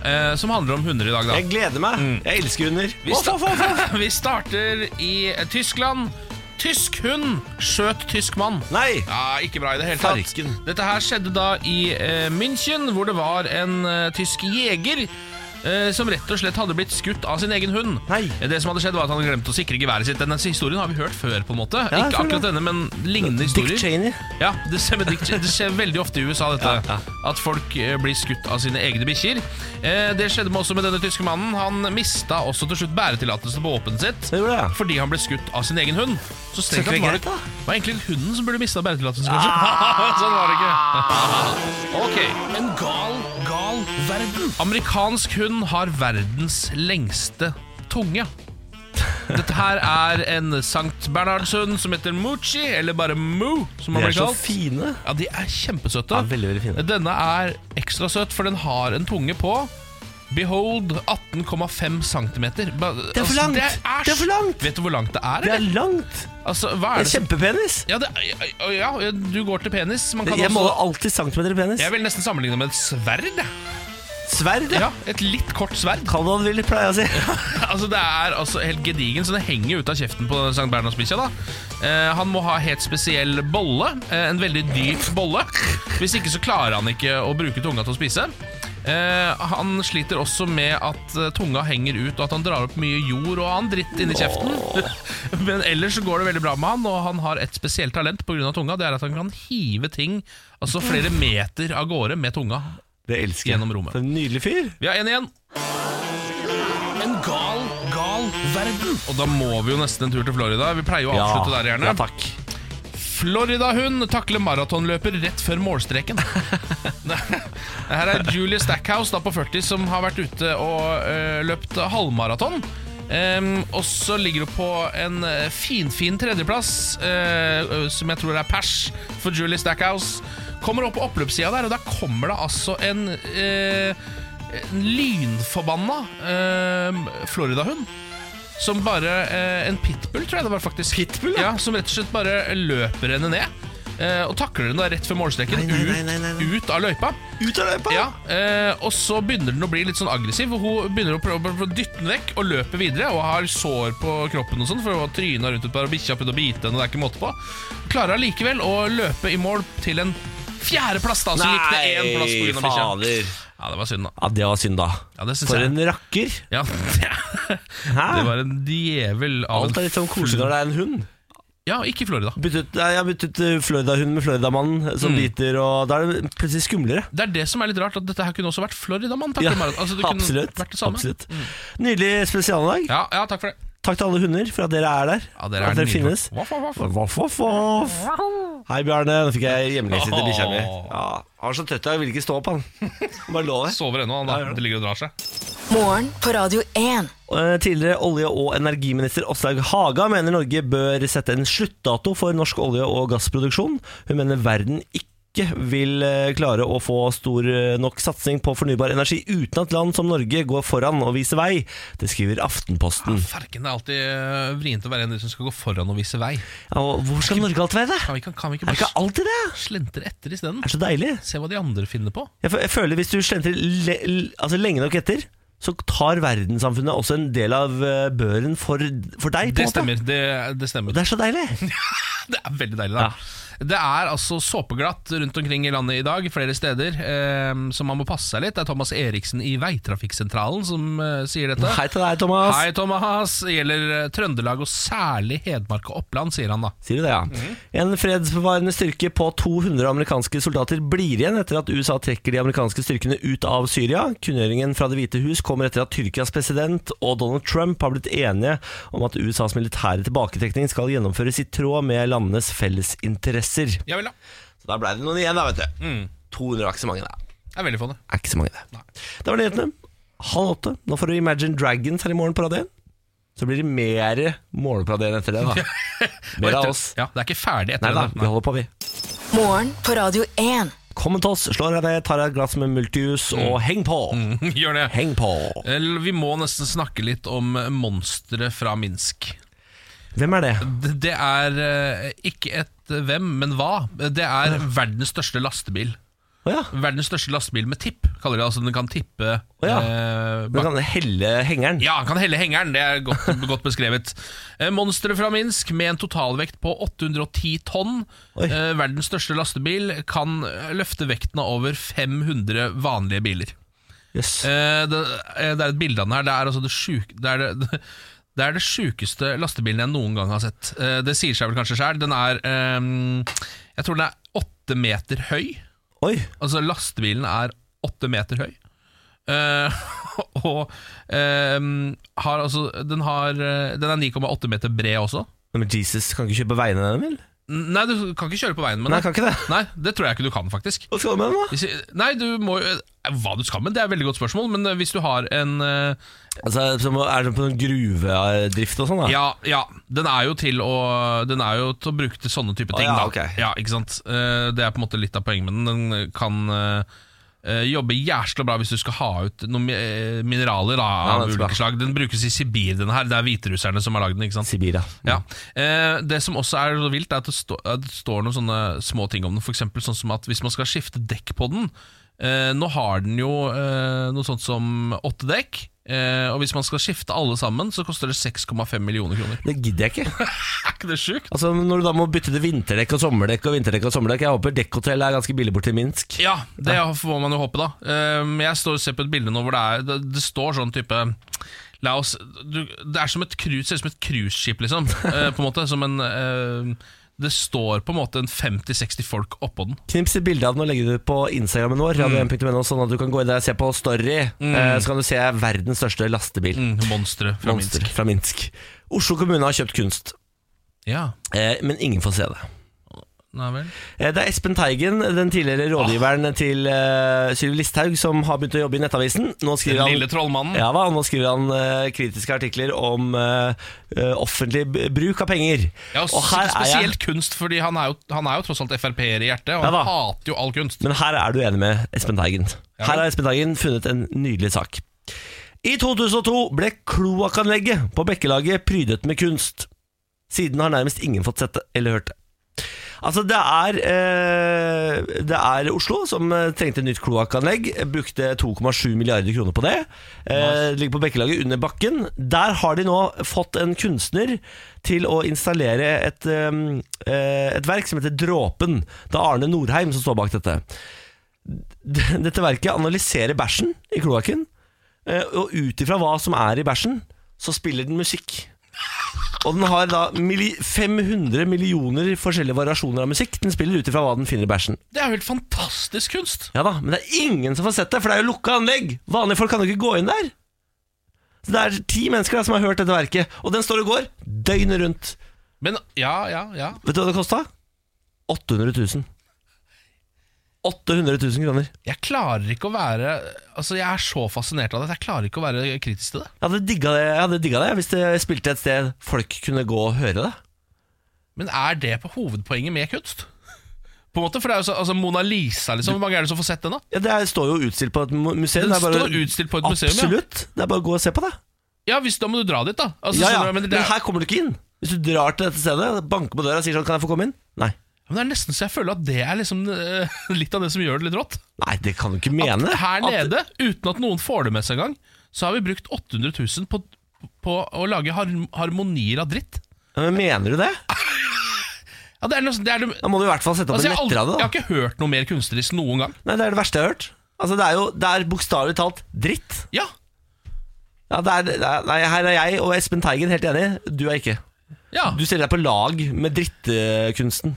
Speaker 2: eh, som handler om hunder i dag, da.
Speaker 1: Jeg gleder meg. Jeg elsker hunder.
Speaker 2: Mm. Vi, sta Vi starter i eh, Tyskland. Tysk hund skjøt tysk mann.
Speaker 1: Nei!
Speaker 2: Ja, ikke bra i det hele tatt.
Speaker 1: Farken.
Speaker 2: Dette her skjedde da i eh, München, hvor det var en eh, tysk jeger eh, som rett og slett hadde blitt skutt av sin egen hund.
Speaker 1: Nei.
Speaker 2: Eh, Det som hadde skjedd var at Han glemte å sikre geværet sitt. Denne historien har vi hørt før. på en måte
Speaker 1: jeg
Speaker 2: Ikke
Speaker 1: tror det.
Speaker 2: akkurat denne, men lignende
Speaker 1: Dick
Speaker 2: historier.
Speaker 1: Cheney.
Speaker 2: Ja, det skjer, med Dick Cheney. det skjer veldig ofte i USA, dette.
Speaker 1: Ja, ja.
Speaker 2: At folk eh, blir skutt av sine egne bikkjer. Eh, det skjedde med også med denne tyske mannen. Han mista også til slutt bæretillatelsen på våpenet sitt.
Speaker 1: Det gjorde jeg.
Speaker 2: Fordi han ble skutt av sin egen hund. Så strengt
Speaker 1: Så
Speaker 2: tatt
Speaker 1: ikke
Speaker 2: var
Speaker 1: det
Speaker 2: det,
Speaker 1: greit,
Speaker 2: var egentlig hunden som burde mista bæretillatelsen, kanskje. sånn var det ikke. ok. En gal, gal verden. Amerikansk hund har verdens lengste tunge. Dette her er en Sankt Bernhardshund som heter Moochie, eller bare Moo, som han
Speaker 1: De
Speaker 2: blir
Speaker 1: er så
Speaker 2: kalt.
Speaker 1: fine.
Speaker 2: Ja, de er kjempesøte.
Speaker 1: Ja, veldig, veldig fine.
Speaker 2: Denne er ekstra søt, for den har en tunge på Behold 18,5 cm. Det
Speaker 1: er for langt!
Speaker 2: altså, Det er,
Speaker 1: Det er for langt!
Speaker 2: Vet du hvor langt det er?
Speaker 1: Det
Speaker 2: eller?
Speaker 1: er langt.
Speaker 2: Altså, hva
Speaker 1: Det er
Speaker 2: er det som
Speaker 1: kjempepenis.
Speaker 2: ja, det, er- ja, ja, du går til penis. Man kan
Speaker 1: Jeg
Speaker 2: også
Speaker 1: måler alltid centimeter i penis.
Speaker 2: Jeg vil nesten sammenligne med et sverd. jeg.
Speaker 1: Sverd.
Speaker 2: Ja, Et litt kort sverd.
Speaker 1: Kall det hva du vil, pleier jeg å si.
Speaker 2: Altså Det er altså helt gedigen, så det henger ut av kjeften på Sankt Bernhardsbikkja. da. Eh, han må ha helt spesiell bolle. Eh, en veldig dyp bolle. Hvis ikke så klarer han ikke å bruke tunga til å spise. Eh, han sliter også med at eh, tunga henger ut, og at han drar opp mye jord og annen dritt inni kjeften. Men ellers så går det veldig bra med han, og han har et spesielt talent pga. tunga. Det er at han kan hive ting altså flere meter av gårde med tunga.
Speaker 1: Det elsker jeg.
Speaker 2: Gjennom rommet.
Speaker 1: For en nydelig fyr.
Speaker 2: Vi har én igjen. En gal, gal verden. Og da må vi jo nesten en tur til Florida. Vi pleier jo å avslutte der, gjerne.
Speaker 1: ja, takk.
Speaker 2: Florida-hund takler maratonløper rett før målstreken. Det Her er Julie Stackhouse da på 40 som har vært ute og øh, løpt halvmaraton. Ehm, og så ligger hun på en øh, finfin tredjeplass, øh, øh, som jeg tror er pers for Julie Stackhouse. Kommer opp på oppløpssida der, og da kommer det altså en, øh, en lynforbanna øh, Florida-hund. Som bare eh, en pitbull, tror jeg det var faktisk.
Speaker 1: Pitbull, ja?
Speaker 2: ja? Som rett og slett bare løper henne ned. eh, og takler henne da rett før målstreken,
Speaker 1: Nei, nei, nei, nei, nei, Ah. nei.
Speaker 2: Ut, ut av løypa.
Speaker 1: Ut av løypa!
Speaker 2: Ja, eh, og så begynner den å bli litt sånn aggressiv. Og hun begynner å prøve å dytte den vekk og løpe videre. Og har sår på kroppen og sånn, for hun har tryna rundt et par og bikkja har prøvd å bite henne. Og det er ikke måte på. Klarer allikevel å løpe i mål til en fjerdeplass, da. Så gikk det én plass
Speaker 1: Nei,
Speaker 2: pga. bikkja.
Speaker 1: fader.
Speaker 2: Ja, det var synd, da.
Speaker 1: Ja, det var synd, da.
Speaker 2: Ja, det synes
Speaker 1: For
Speaker 2: jeg.
Speaker 1: en rakker.
Speaker 2: Ja, det,
Speaker 1: Hæ?
Speaker 2: det var en djevel av
Speaker 1: Alt er litt sånn koselig når det er en hund.
Speaker 2: Ja, ikke i Florida.
Speaker 1: Byttet, nei, jeg har byttet eh, Florida-hund med Florida-mannen eh,
Speaker 2: Mm.
Speaker 1: som biter, og da er det plutselig skumlere.
Speaker 2: Det er det som er litt rart, at dette her kunne også vært Florida-mann. takk
Speaker 1: Ja,
Speaker 2: for meg. Altså, det kunne
Speaker 1: absolutt.
Speaker 2: vært det samme. Mm.
Speaker 1: absolutt. Nydelig spesialdag.
Speaker 2: Ja, ja, takk for det.
Speaker 1: Takk til alle hunder for at dere er der.
Speaker 2: Ja, dere
Speaker 1: at
Speaker 2: er
Speaker 1: dere
Speaker 2: nydelige.
Speaker 1: finnes.
Speaker 2: Voff, voff, voff.
Speaker 1: Voff, voff, voff. Hei, Bjarne. Nå fikk jeg hjemlengsel til bikkja mi.
Speaker 2: Åh.
Speaker 1: Ja, han var så trøtt jeg ville ikke stå opp, han. Bare lå der.
Speaker 2: Sover ennå, han
Speaker 1: Ja,
Speaker 2: da.
Speaker 1: gjør det.
Speaker 2: Det ligger og drar seg.
Speaker 3: Morgen på Radio 1.
Speaker 1: Eh, Tidligere olje- og energiminister Åslaug Haga mener Norge bør sette en sluttdato for norsk olje- og gassproduksjon. Hun mener verden ikke vil eh, klare å få stor eh, nok satsing på fornybar energi uten at land som Norge går foran og viser vei. Det skriver Aftenposten.
Speaker 2: Farken, det er alltid øh, vrient å være en av de som skal gå foran og vise vei.
Speaker 1: Ja, og hvor skal Norge alltid være?
Speaker 2: Kan vi ikke, kan vi ikke
Speaker 1: Er det
Speaker 2: bare
Speaker 1: ikke alltid det?
Speaker 2: slentre etter isteden?
Speaker 1: Det er så deilig.
Speaker 2: Se hva de andre finner på.
Speaker 1: Jeg, fø- jeg føler Hvis du slentrer le, l- altså lenge nok etter, så tar verdenssamfunnet også en del av eh, børen for, for deg. på en
Speaker 2: Det
Speaker 1: måte.
Speaker 2: stemmer. Det, det stemmer.
Speaker 1: Det er så deilig.
Speaker 2: Det er veldig deilig, da. Det er altså såpeglatt rundt omkring i landet i dag, flere steder, eh, så man må passe seg litt. Det er Thomas Eriksen i Veitrafikksentralen som eh, sier dette.
Speaker 1: Hei til deg, Thomas.
Speaker 2: Hei, Thomas. Det gjelder eh, Trøndelag og særlig Hedmark og Oppland, sier han da.
Speaker 1: Sier du det, ja? En fredsbevarende styrke på 200 amerikanske soldater blir igjen etter at USA trekker de amerikanske styrkene ut av Syria. Kunngjøringen fra Det hvite hus kommer etter at Tyrkias president og Donald Trump har blitt enige om at USAs militære tilbaketrekning skal gjennomføres i tråd med landenes felles interesser.
Speaker 2: Ja vel, da.
Speaker 1: Så da ble det noen igjen, da, vet du. 200 er ikke så mange, det.
Speaker 2: Det er veldig få, det.
Speaker 1: Er ikke så mange, det. Det var nyhetene. Halv åtte. Nå får du Imagine Dragons her i morgen på radioen. Så blir det mer morgenparadien etter det, da. Mer av oss.
Speaker 2: Ja, det er ikke ferdig etter
Speaker 1: Nei da,
Speaker 2: det.
Speaker 1: vi holder på, vi.
Speaker 3: Morgen på Radio 1.
Speaker 1: Kom til oss, slår av deg, tar deg et glass med multijus og heng på!
Speaker 2: Gjør det.
Speaker 1: Heng på!
Speaker 2: Eller, Vi må nesten snakke litt om monsteret fra Minsk.
Speaker 1: Hvem er det?
Speaker 2: Det det er eh, ikke et hvem, men hva. Det er verdens største lastebil.
Speaker 1: Å ja.
Speaker 2: Verdens største lastebil med tipp, kaller de det. Altså den kan tippe
Speaker 1: ja.
Speaker 2: eh,
Speaker 1: Du
Speaker 2: bak
Speaker 1: kan helle hengeren.
Speaker 2: ja, han kan helle hengeren, det er godt, godt beskrevet. Eh, Monsteret fra Minsk med en totalvekt på 810 tonn,
Speaker 1: Oi.
Speaker 2: eh, verdens største lastebil, kan løfte vekten av over 500 vanlige biler.
Speaker 1: Jøss.
Speaker 2: Eh, det, eh, det er et bilde av den her. Det er altså det sjuk... Det er det, det, det er det sjukeste lastebilen jeg noen gang har sett. Eh, Det sier seg vel kanskje sjøl. Den er ehm, Jeg tror den er åtte meter høy.
Speaker 1: Oi.
Speaker 2: Altså lastebilen er åtte meter høy. Eh, og ehm, har altså Den, har, eh, den er 9,8 meter bred også.
Speaker 1: Nei, Men Jesus kan ikke kjøpe veiene den, vel?
Speaker 2: N- Nei, du kan ikke kjøre på veien med
Speaker 1: Nei,
Speaker 2: den.
Speaker 1: kan ikke det.
Speaker 2: Nei, det tror jeg ikke du kan, faktisk.
Speaker 1: Hva skal du med den, da?
Speaker 2: Hvis, nei, du må jo eh, Hva du skal med, det er et veldig godt spørsmål, men eh, hvis du har en eh,
Speaker 1: Altså, som, er det på noen gruvedrift og sånn? da?
Speaker 2: Ja, ja. Den er jo til å, den er jo til å bruke til sånne type
Speaker 1: Å,
Speaker 2: ting.
Speaker 1: ja,
Speaker 2: da.
Speaker 1: ok.
Speaker 2: ja, ikke sant? Eh, Det er på en måte litt av poenget med den. Den kan eh, jobbe jævla bra hvis du skal ha ut noen eh, mineraler da,
Speaker 1: Ja,
Speaker 2: av
Speaker 1: den skal-
Speaker 2: ulike slag. Den brukes i Sibir, den her. Det er hviterusserne som har lagd den. ikke sant?
Speaker 1: Sibir, ja.
Speaker 2: Ja. Eh, det som også er så vilt, er at det, stå, at det står noen sånne små ting om den. F.eks. sånn som at hvis man skal skifte dekk på den eh, Nå har den jo eh, noe sånt som åtte dekk. Eh, og hvis man skal skifte alle sammen, så koster det 6,5 millioner kroner.
Speaker 1: Det gidder jeg ikke.
Speaker 2: Er ikke det sjukt?
Speaker 1: Altså Når du da må bytte til vinterdekk og sommerdekk og vinterdekk og sommerdekk Jeg håper dekkhotell er ganske billig borti Minsk.
Speaker 2: Ja, det får man jo håpe, da. Eh, Men jeg står og ser på et bilde nå hvor det er Det, det står sånn type La oss du, Det er som et cruise, ser ut som et cruiseskip, liksom. Eh, på en måte Som en eh, Det står på en måte en 50-60 folk oppå den.
Speaker 1: Knips et bilde av den og legge det ut på Instagrammen vår, radio1.no, sånn at du kan gå inn der og se på Story. Eh, Så kan du se verdens største lastebil.
Speaker 2: Mm, Monstre fra
Speaker 1: Monster
Speaker 2: Minsk.
Speaker 1: fra Minsk. Oslo kommune har kjøpt kunst,
Speaker 2: Ja,
Speaker 1: eh, men ingen får se det.
Speaker 2: nei vel.
Speaker 1: Eh, Det er Espen Teigen, den tidligere
Speaker 2: Ah.
Speaker 1: rådgiveren til uh, Sylvi Listhaug, som har begynt å jobbe i Nettavisen. Nå skriver
Speaker 2: Den
Speaker 1: han
Speaker 2: lille trollmannen.
Speaker 1: ja, hva? Nå skriver han eh, kritiske artikler om eh, eh, offentlig b- bruk av penger.
Speaker 2: Ja, og spesielt kunst, fordi han er jo, han er jo tross alt Frp-er i hjertet, og
Speaker 1: Ja
Speaker 2: han
Speaker 1: da.
Speaker 2: hater jo all kunst.
Speaker 1: Men her er du enig med Espen Teigen. Her har Espen Teigen funnet en nydelig sak. I 2002 ble kloakkanlegget på Bekkelaget prydet med kunst. Siden har nærmest ingen fått sett det eller hørt det. Altså det er, eh, det er Oslo som eh, trengte nytt kloakkanlegg. Brukte 2,7 milliarder kroner på det. Eh, det ligger på Bekkelaget under bakken. Der har de nå fått en kunstner til å installere et, eh, eh, et verk som heter Dråpen. Det er Arne Norheim som står bak dette. D- Dette verket analyserer bæsjen i kloakken. eh, Og ut ifra hva som er i bæsjen, så spiller den musikk. Og den har da milli- 500 millioner forskjellige variasjoner av musikk. Den spiller ut ifra hva den finner i bæsjen.
Speaker 2: Det er jo helt fantastisk kunst!
Speaker 1: Ja da, Men det er ingen som får sett det, for det er jo lukka anlegg. Vanlige folk kan jo ikke gå inn der. Så det er ti mennesker da som har hørt dette verket, og den står og går døgnet rundt.
Speaker 2: Men ja, ja, ja.
Speaker 1: Vet du hva det kosta? 800 000. 800 000 kroner.
Speaker 2: Jeg klarer ikke å være Altså Jeg er så fascinert av det at jeg klarer ikke å være kritisk til det.
Speaker 1: Jeg hadde digga det, jeg hadde digga det hvis det spilte et sted folk kunne gå og høre det.
Speaker 2: Men er det på hovedpoenget med kunst? På en måte, for det er jo så, altså Mona Lisa, liksom. Hvor mange er det som får sett den, da?
Speaker 1: Ja, det er, står jo utstilt på et mu- museum.
Speaker 2: Den
Speaker 1: det er bare,
Speaker 2: står utstilt på et museum, ja.
Speaker 1: Absolutt. Det er bare å gå og se på det.
Speaker 2: Ja, hvis, Da må du dra dit, da. Altså,
Speaker 1: ja, ja.
Speaker 2: skjønner du,
Speaker 1: Men,
Speaker 2: men, det er,
Speaker 1: her kommer du ikke inn. Hvis du drar til dette stedet, banker på døra og sier sånn 'Kan jeg få komme inn?' Nei.
Speaker 2: men det er nesten så jeg føler at det er liksom eh, litt av det som gjør det litt rått.
Speaker 1: Nei, det kan du ikke mene.
Speaker 2: Her
Speaker 1: At-
Speaker 2: nede, uten at noen får det med seg engang, så har vi brukt 800 000 på, på å lage har, harmonier av dritt.
Speaker 1: Ja, Men mener du det?
Speaker 2: Ja, det er nesten, det er, det-
Speaker 1: Da må du i hvert fall sette opp
Speaker 2: altså, jeg,
Speaker 1: en
Speaker 2: har aldri,
Speaker 1: nettradio.
Speaker 2: jeg
Speaker 1: da.
Speaker 2: har ikke hørt noe mer kunstnerisk noen gang.
Speaker 1: Nei, det er det verste jeg har hørt. Altså, det er jo det er bokstavelig talt dritt.
Speaker 2: Ja,
Speaker 1: Ja, det er, det er, nei, her er jeg og Espen Teigen helt enig. Du er ikke.
Speaker 2: ja.
Speaker 1: Du stiller deg på lag med drittkunsten.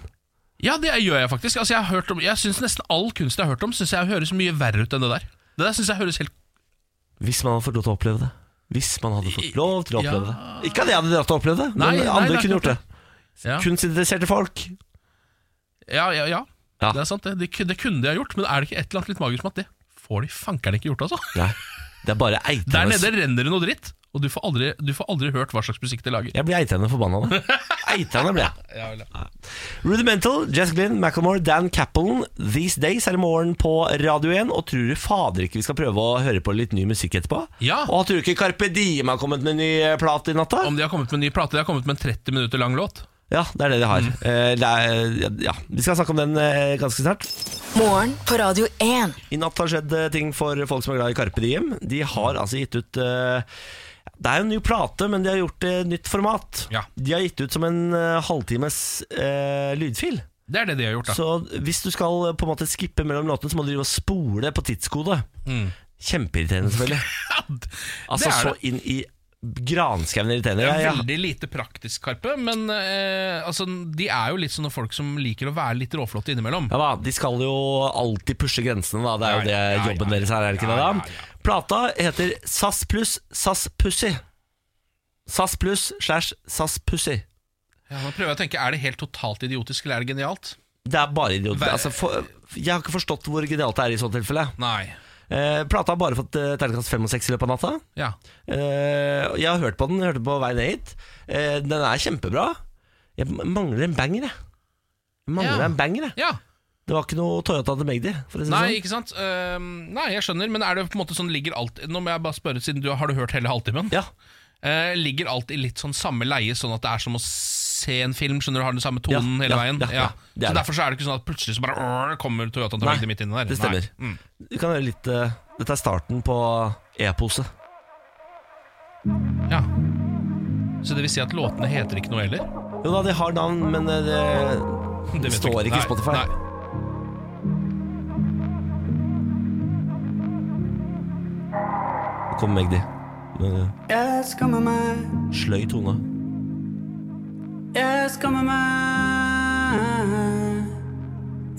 Speaker 2: Ja, det gjør jeg faktisk. Altså, jeg har hørt om, jeg synes Nesten all kunst jeg har hørt om, synes jeg høres mye verre ut enn det der. Det der synes jeg høres helt
Speaker 1: Hvis man hadde fått lov til å oppleve det. Hvis man hadde fått lov til å
Speaker 2: Ja.
Speaker 1: oppleve det. Ikke at jeg hadde dratt og opplevd det, men
Speaker 2: Nei, nei,
Speaker 1: andre
Speaker 2: det er
Speaker 1: kunne gjort det.
Speaker 2: Ja,
Speaker 1: Kunstinteresserte folk.
Speaker 2: ja, ja. ja.
Speaker 1: Ja.
Speaker 2: Det er sant, det. det. ku- Det kunne de ha gjort, men er det ikke et eller annet litt magisk med at det får de fankeren ikke gjort, altså?
Speaker 1: Nei, det er bare
Speaker 2: Der
Speaker 1: eitende
Speaker 2: nede renner det noe dritt, og du får aldri, du får aldri hørt hva slags musikk de lager.
Speaker 1: Jeg blir eitende forbanna nå. Eitende ble jeg.
Speaker 2: Ja, vel, ja.
Speaker 1: Rudimental, Jess Glynn, Macclemore, Dan Cappelen. These Days er i morgen på Radio 1. Og tror du fader ikke vi skal prøve å høre på litt ny musikk etterpå?
Speaker 2: Ja.
Speaker 1: Og tror du ikke Carpe Diem har kommet med ny eh, plate i natt, da?
Speaker 2: Om de har kommet med en ny plate, de har kommet med en 30 minutter lang låt.
Speaker 1: Ja, det er det de har.
Speaker 2: Mm.
Speaker 1: Eh, det er, ja, vi skal snakke om den eh, ganske snart.
Speaker 3: Morgen på Radio 1.
Speaker 1: I natt har skjedd eh, ting for folk som er glad i Carpe Diem. De har altså gitt ut eh, Det er jo en ny plate, men de har gjort det i et nytt format.
Speaker 2: Ja.
Speaker 1: De har gitt ut som en eh, halvtimes eh, lydfil.
Speaker 2: Det er det de har gjort, da.
Speaker 1: Så hvis du skal eh, på en måte skippe mellom låtene, så må du drive og spole på tidskode. Kjempeirriterende, selvfølgelig.
Speaker 2: Mm. det
Speaker 1: Altså
Speaker 2: er
Speaker 1: så
Speaker 2: det.
Speaker 1: inn i granskauen irriterende.
Speaker 2: Det er
Speaker 1: Jeg-
Speaker 2: veldig lite praktisk, Karpe, men eh, altså, de er jo litt sånne folk som liker å være litt råflotte innimellom.
Speaker 1: Ja da, De skal jo alltid pushe grensene, da. Det er jo
Speaker 2: Ja,
Speaker 1: det
Speaker 2: ja, ja,
Speaker 1: jobben
Speaker 2: ja,
Speaker 1: deres her, er det ikke
Speaker 2: ja,
Speaker 1: det? da?
Speaker 2: ja, ja.
Speaker 1: Plata heter SAS pluss SAS Pussy. SAS pluss slash SAS Pussy.
Speaker 2: Ja, nå prøver jeg å tenke, Er det helt totalt idiotisk, eller er det genialt?
Speaker 1: Det er bare idiot.
Speaker 2: Hver-
Speaker 1: Altså, for, jeg har ikke forstått hvor genialt det er i sånt tilfelle.
Speaker 2: Nei.
Speaker 1: Eh, plata har bare fått eh, terningkast fem og seks i løpet av natta.
Speaker 2: Ja.
Speaker 1: Eh, og jeg har hørt på den, jeg hørte på vei ned hit. Eh, den er kjempebra. Jeg mangler en banger, jeg. jeg mangler
Speaker 2: Ja.
Speaker 1: en banger, jeg.
Speaker 2: ja.
Speaker 1: Det var ikke noe Toyota til Magdi, for å si det
Speaker 2: Nei,
Speaker 1: sånn.
Speaker 2: ikke sant? Ehm, nei, jeg skjønner, men er det på en måte sånn ligger alt Nå må jeg bare spørre, siden du har du hørt hele halvtimen?
Speaker 1: sånn. Ja.
Speaker 2: Eh, ligger alt i litt sånn samme leie, sånn at det er som å se en film? Skjønner du, har den samme tonen
Speaker 1: Ja,
Speaker 2: hele
Speaker 1: ja,
Speaker 2: veien?
Speaker 1: ja, ja, det er
Speaker 2: Så
Speaker 1: det.
Speaker 2: Derfor så er det ikke sånn at plutselig så bare åh, kommer Toyotaen til
Speaker 1: Nei,
Speaker 2: midt inni der.
Speaker 1: det stemmer.
Speaker 2: Nei. Mm.
Speaker 1: Du kan høre litt eh, Dette er starten på e-pose.
Speaker 2: Ja. Så det vil si at låtene heter ikke noe heller?
Speaker 1: Jo da, de har navn, men eh, det,
Speaker 2: Det vet
Speaker 1: Står
Speaker 2: vi
Speaker 1: ikke i Spotify.
Speaker 2: Nei.
Speaker 1: kom Magdi. Men, eh,
Speaker 4: Jeg skammer meg,
Speaker 1: Sløy tone.
Speaker 4: jeg skammer meg.